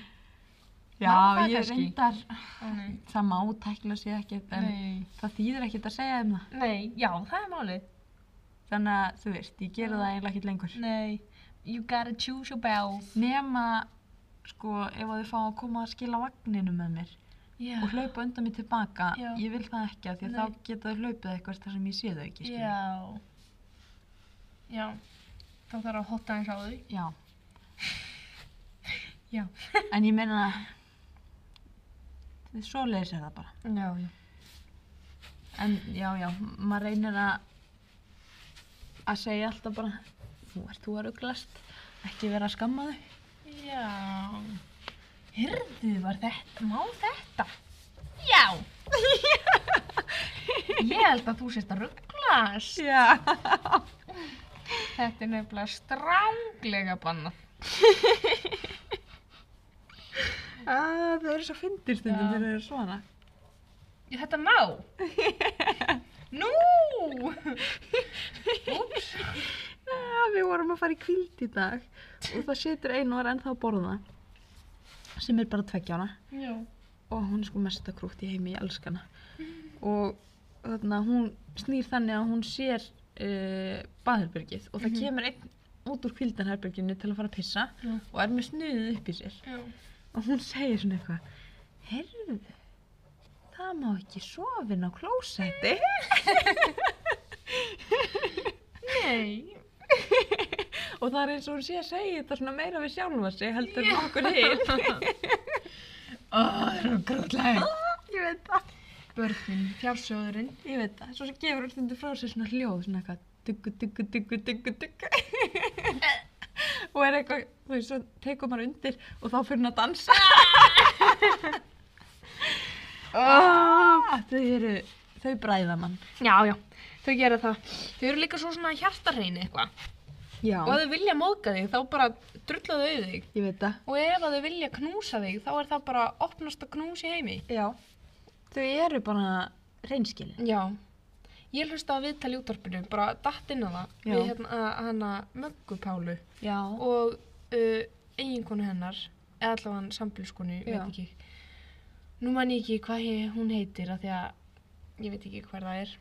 A: Já,
D: það
A: ég
D: kannski.
A: reyndar,
D: Ó, nei.
A: það má tækla sér ekkert, en
D: Nei.
A: það þýðir ekkert að segja um það.
B: Nei, já, það er málið.
A: Þannig að, þú veist, ég gera það eiginlega ekkert lengur.
B: Nei, you gotta choose your bells.
A: Nema, sko, ef að þau fá að koma að skila vagninu með mér
B: Já,
A: og hlaupa undan mér tilbaka,
B: Já.
A: ég vil það ekki af því að
B: Nei.
A: þá geta þau hlaupið eitthvað þar sem ég sé þau ekki, skilur.
B: já.
D: Já. Þá þarf að hotta eins á því.
A: Já.
D: Já.
A: en ég meina þið svo leiðis er það bara.
B: Já, já.
A: En já, já, maður reynir að að segja alltaf bara þú ert þú að rugglast, ekki vera að skamma þau.
D: Já.
B: Hyrðu, var þetta, má þetta? Já. Ég held að þú sést að rugglast.
A: Já.
D: Þetta er nefnilega stránglega banna.
A: Ah, það eru svo fyndir
D: Já.
A: stundum þegar þau eru svona.
B: Ég, þetta má. Nú. Úps.
A: Já, við vorum að fara í kvíld í dag og það situr einu og er ennþá að borða sem er bara tveggjána.
D: Já.
A: og hún er sko mesta krútt í heimi, ég elska hana
D: Mhm.
A: og þarna hún snýr þannig að hún sér uh, baðherbergið og það
D: Mhm.
A: kemur einn út úr kvildanherberginu til að fara að pissa
D: Já.
A: og er með snuðið upp í sér
D: Já.
A: og hún segir svona eitthvað heyrðu, það má ekki sofin á klósetti
D: Nei.
A: og það er eins og hún sé að segja þetta svona meira við sjálfa sig heldur en okkur hinn
D: Ó, það eru grótlega.
A: ég veit það,
D: Börnin, fjársjóðurinn.
A: ég veit það svo sem gefur hún stundu frá sér svona hljóð svona eitthvað duggu, duggu, duggu, duggu, duggu og er eitthvað, þú veist, svo tekur maður undir og þá fyrir hann að dansa. Ah, þau eru, þau bræða mann.
B: Já, já. Þau gera það. Þau eru líka svo svona hjartarrein eitthvað.
A: Já,
B: Og ef þau vilja móðga þig, þá bara drullaðu auð þig.
A: ég veit það.
B: Og ef að þau vilja knúsa þig, þá er það bara opnast að knúsa í heimi.
A: Já, þau eru bara reynskilin.
B: Já. ég hlusta á viðtal í útvarpinu, bara datt inn á það
A: Já.
B: við hérna, hana Möggu Pálu
A: Já.
B: og uh, eiginkonu hennar eða allavega sambilskonu, ég
A: Já.
B: veit ekki nú man ég ekki hvað he- hún heitir af því að ég veit ekki hver það er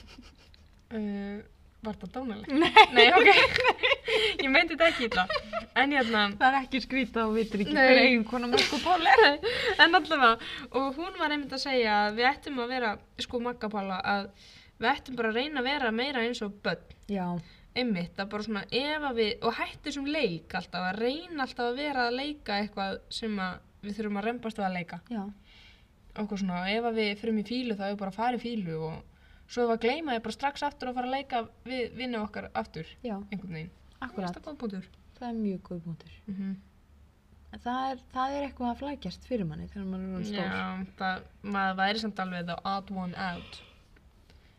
B: uh, var það dánaleg?
A: Nei,
B: Nei, ok ég meinti þetta ekki illa en hérna
A: það er ekki skrítið og vitur ekki
B: Nei.
A: hver eigin konar mörgu pál er.
B: Nei, en allavega, og hún var einmitt að segja að við ættum að vera, sko makkapála, að við ættum bara að reyna að vera meira eins og börn,
A: Já.
B: einmitt, að bara svona ef að við, og hættu sem leik alltaf, að reyna alltaf að vera að leika eitthvað sem að við þurfum að rembast við að leika,
A: Já.
B: okkur svona, og ef að við fyrum í fílu þá er bara að fara í fílu og svo ef að gleyma þið bara strax aftur og fara að leika við vinna okkar aftur,
A: Já,
B: einhvern veginn.
A: akkurat.
B: Það er búinbútur.
A: Það er mjög góð búndur.
B: Mm
A: Það er, það er eitthvað að flækjast fyrir manni þegar mann er orðinn stór.
B: Já, það, maður væri samt alveg the odd one out.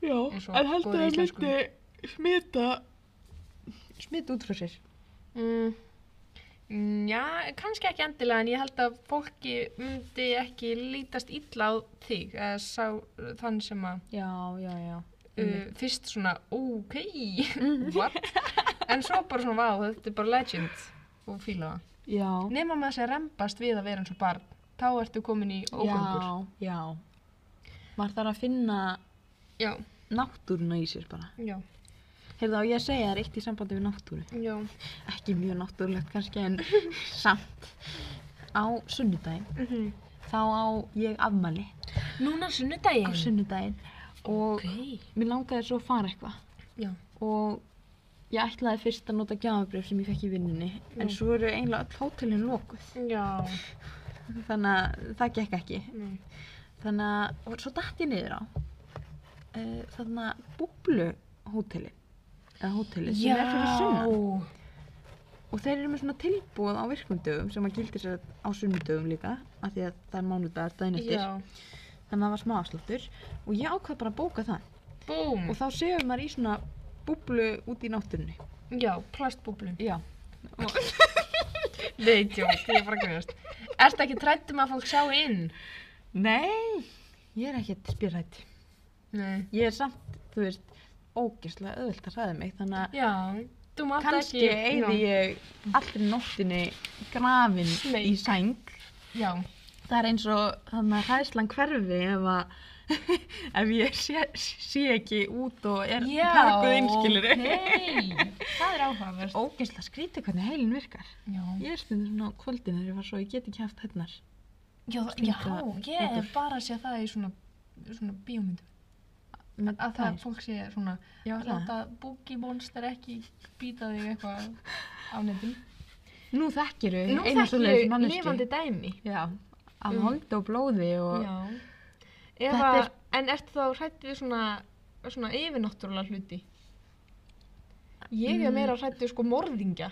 A: Já,
B: Eins og en heldurðu góðri að íslensku.
A: smita smita út frá sér.
B: Mm. Mm, Já, kannski ekki endilega en ég held að fólki myndi ekki lítast illa á þig eða sá þann sem að
A: Já, já, já. Mm.
B: uh, fyrst svona ok, what? en svo bara svona vá, þetta er bara legend og fíla það.
A: Já.
B: Nefna maður sér rembast við að vera eins og barn, þá ertu komin í ógöngur.
A: Já, já. Maður þarf að finna
B: Já,
A: náttúruna í sér bara.
B: já,
A: Heyrðu á ég að segja þér eitt í sambandi við náttúru.
B: já,
A: Ekki mjög náttúrulegt kannski en samt. Á sunnudaginn,
B: Mhm.
A: þá á ég afmæli
B: Núna sunnudaginn.
A: á sunnudaginn og
B: Ok,
A: mér langaði svo að fara eitthvað.
B: já,
A: og ég ætlaði fyrst að nota gjafabrif sem ég fekk í vinnunni en
B: Já.
A: svo eru eiginlega öll hótelin lokuð
B: já,
A: þannig að það gekk ekki
B: Nei.
A: þannig að og svo datt ég niður á uh, þannig að búblu hótelin eða hótelin sem er fyrir sunnan og þeir eru með svona tilbúð á virkum dögum sem að gildir sér á sunnudögum líka af því að það er mánudagar daginn eftir
B: já,
A: þannig að það var smá afsláttur og ég ákvað bara að bóka það
B: búm,
A: og þá séum maður í svona búblu út í náttúrunni
B: já, plastbúblum.
A: já
B: Nei, tjók, ég er bara grunast. Ertu ekki trætt um að fólk sjá inn?
A: Nei, ég er ekkert spyrrætt.
B: Nei.
A: Ég er samt, þú veist, ógeðslega auðvilt að hræða mig, þannig að
B: Já, þú mátt
A: kannski
B: ekki...
A: eigði ég allri nóttinni grafin
B: Nei.
A: í sæng.
B: Já,
A: Það er eins og þannig að hræðslan hverfi ef að ef ég sé, sé ekki út og er
B: já.
A: pakkuð innskilur.
B: Nei, það er áhugaverst.
A: Ógeðslega skrítið hvernig heilin virkar.
B: Já,
A: Ég er stundur svona á kvöldin þegar ég var svo, ég get ekki haft hennar.
B: já, það- já,
A: Stinga
B: ég er
A: betur.
B: bara að sé það í svona, svona bíómyndum.
A: Mm,
B: Að það fólk sé svona,
A: Já, það.
B: láta Boogie Monster ekki býta þig eitthvað á netin.
A: Nú þekkir við
B: Nú þekki ég lifandi dæmi.
A: Já, af
B: Um.
A: holdi og blóði og...
B: Já. Ef
A: Þetta
B: að,
A: er-
B: en ertu þá hrætt við svona, svona yfirnáttúrulega hluti? Ég er
A: Mm.
B: meira hrætt við sko morðingja,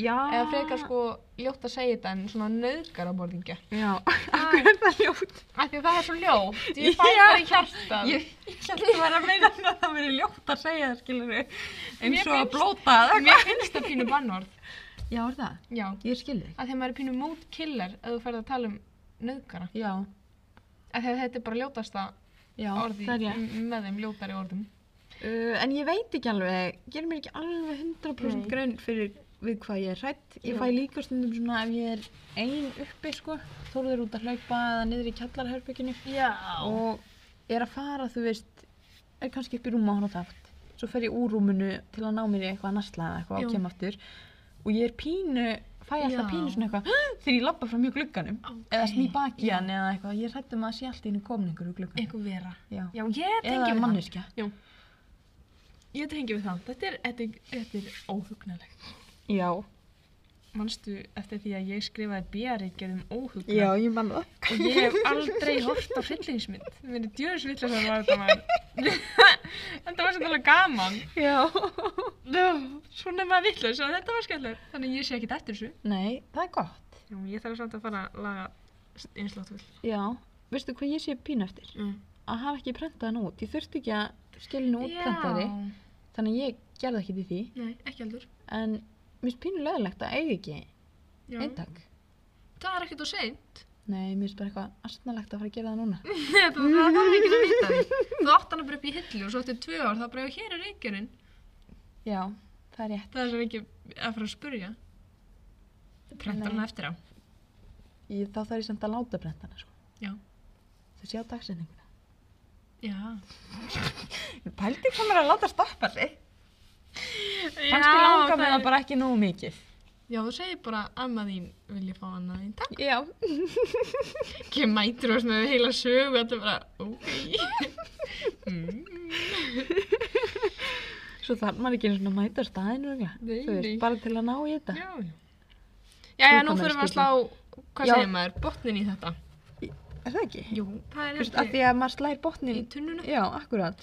A: Já.
B: eða frekar sko ljótt að segja þetta en svona nöðgara morðingja.
A: Já, Ah. af hverju er það ljótt?
B: Af því að það er svo ljótt, ég fæ
A: Já.
B: bara í hjartað.
A: Ég, ég held að vera að meina að það veri ljótt að segja það, skilur við.
B: Mér
A: Eins og að
B: finnst-
A: blóta eða eitthvað.
B: Mér finnst það pínu bannorð,
A: Já, er það?
B: já,
A: Ég skilur þig.
B: af því að maður er pínu mót killer ef þú ferð að tala um nöðgara.
A: Já,
B: Af því að þetta er bara ljótasta
A: já,
B: orði
A: það er ég.
B: m- með þeim ljótari orðum.
A: Mm. Uh, en ég veit ekki alveg, gerir mér ekki alveg 100%
B: Nei.
A: grunn fyrir við hvað ég er hrætt. Ég
B: Já.
A: fæ líka stundum svona ef ég er ein uppi, sko, þóruður út að hlaupa eða niður í kjallarherbygginu.
B: Já.
A: og er að fara, þú veist, er kannski upp í rúma og horfa á þátt. Svo fer ég úr rúminu til að ná mér í eitthvað að nasla eða eitthvað
B: Já.
A: og kem aftur. Og ég er pínu, fæ alltaf
B: Já.
A: pínu svona eitthvað "Hæ?" þegar ég labba fram mjög glugganum.
B: Ok.
A: Eða sný baki í hann eða eitthvað. Ég hrættum að það sé allt í henni komin einhver úr glugganum.
B: Einhver vera.
A: Já.
B: Já, ég tengi
A: Eða
B: við það.
A: manneskja.
B: Ég tengi við það. Þetta er, þetta er, þetta er óhugnalegt.
A: Já.
B: Manstu eftir því að ég skrifaði bíaríkjað um óhugna
A: Já, ég mann það.
B: og ég hef aldrei hort á hryllingsmynd. Mér er djöðsvillis að það var þetta maður. en það var svolítið alveg gaman.
A: Já.
B: No, svona er maður villis og þetta var skemmtilegt. Þannig að ég sé ekkert eftir þessu.
A: Nei, það er gott.
B: Já, ég þarf samt að fara að laga einslótt vill.
A: Já. Veistu hvað ég sé pínu eftir?
B: Mm.
A: Að hafa ekki prentað hann út. Ég þurfti ekki að skilja hann út prentari. Þannig að ég gerði ekki til því.
B: Nei, ekki heldur.
A: En mér finnst pínu löðilegt að eiga ekki
B: Já.
A: eintak.
B: Það er ekkert og seint.
A: Nei, mér finnst bara eitthvað astnalegt að fara að gera það núna.
B: það þarf ekki að vita því. Þú átt hana bara upp í hillu og svo eftir tvö ár þá bara "Já, hér er reykjurinn.
A: Já, það er rétt.
B: Það er sem ekki að fara að spurja. Prentar
A: Nei.
B: hana eftir á.
A: Ég, þá þarf ég samt að láta brentana, sko.
B: Já.
A: Þau sjá dagsetninguna.
B: Já.
A: Pældi hvað maður er að láta stoppa sig. Kannski
B: Já,
A: langar mig
B: það er-
A: það bara ekki nú mikið.
E: Já, þú segir bara amma þín vilja fá annað þín takk.
A: Já.
B: Ekki mætur og með heila sögu þetta er bara, ok. Mm,
A: Svo þarf maður ekki einu sinni að mæta á staðinu, örugglega.
B: Nei,
A: Þú
B: nei.
A: veist, bara til að ná í þetta.
B: já, já. Já, já, nú
A: Viðkvæmari
B: fyrir við að
A: spurning.
B: slá, hvað
A: Já.
B: segir maður, botnin í þetta.
A: Er það ekki?
B: Jú, það
A: Þú
B: er
A: veist, af því að maður slæðir botnin.
B: í tunnuna.
A: Já, akkurat.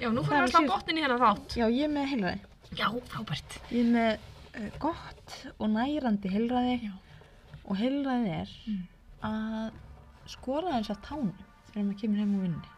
B: Já, nú
A: Það
B: fyrir við
A: var
B: að slá
A: síðast.
B: botnin í hennar þátt.
A: Já, ég er með heilræði.
B: Já, frábært.
A: Ég er með uh, gott og nærandi heilræði.
B: Já.
A: Og heilræði er
B: Mm.
A: að skora þess að tánum þegar maður kemur heim úr vinni.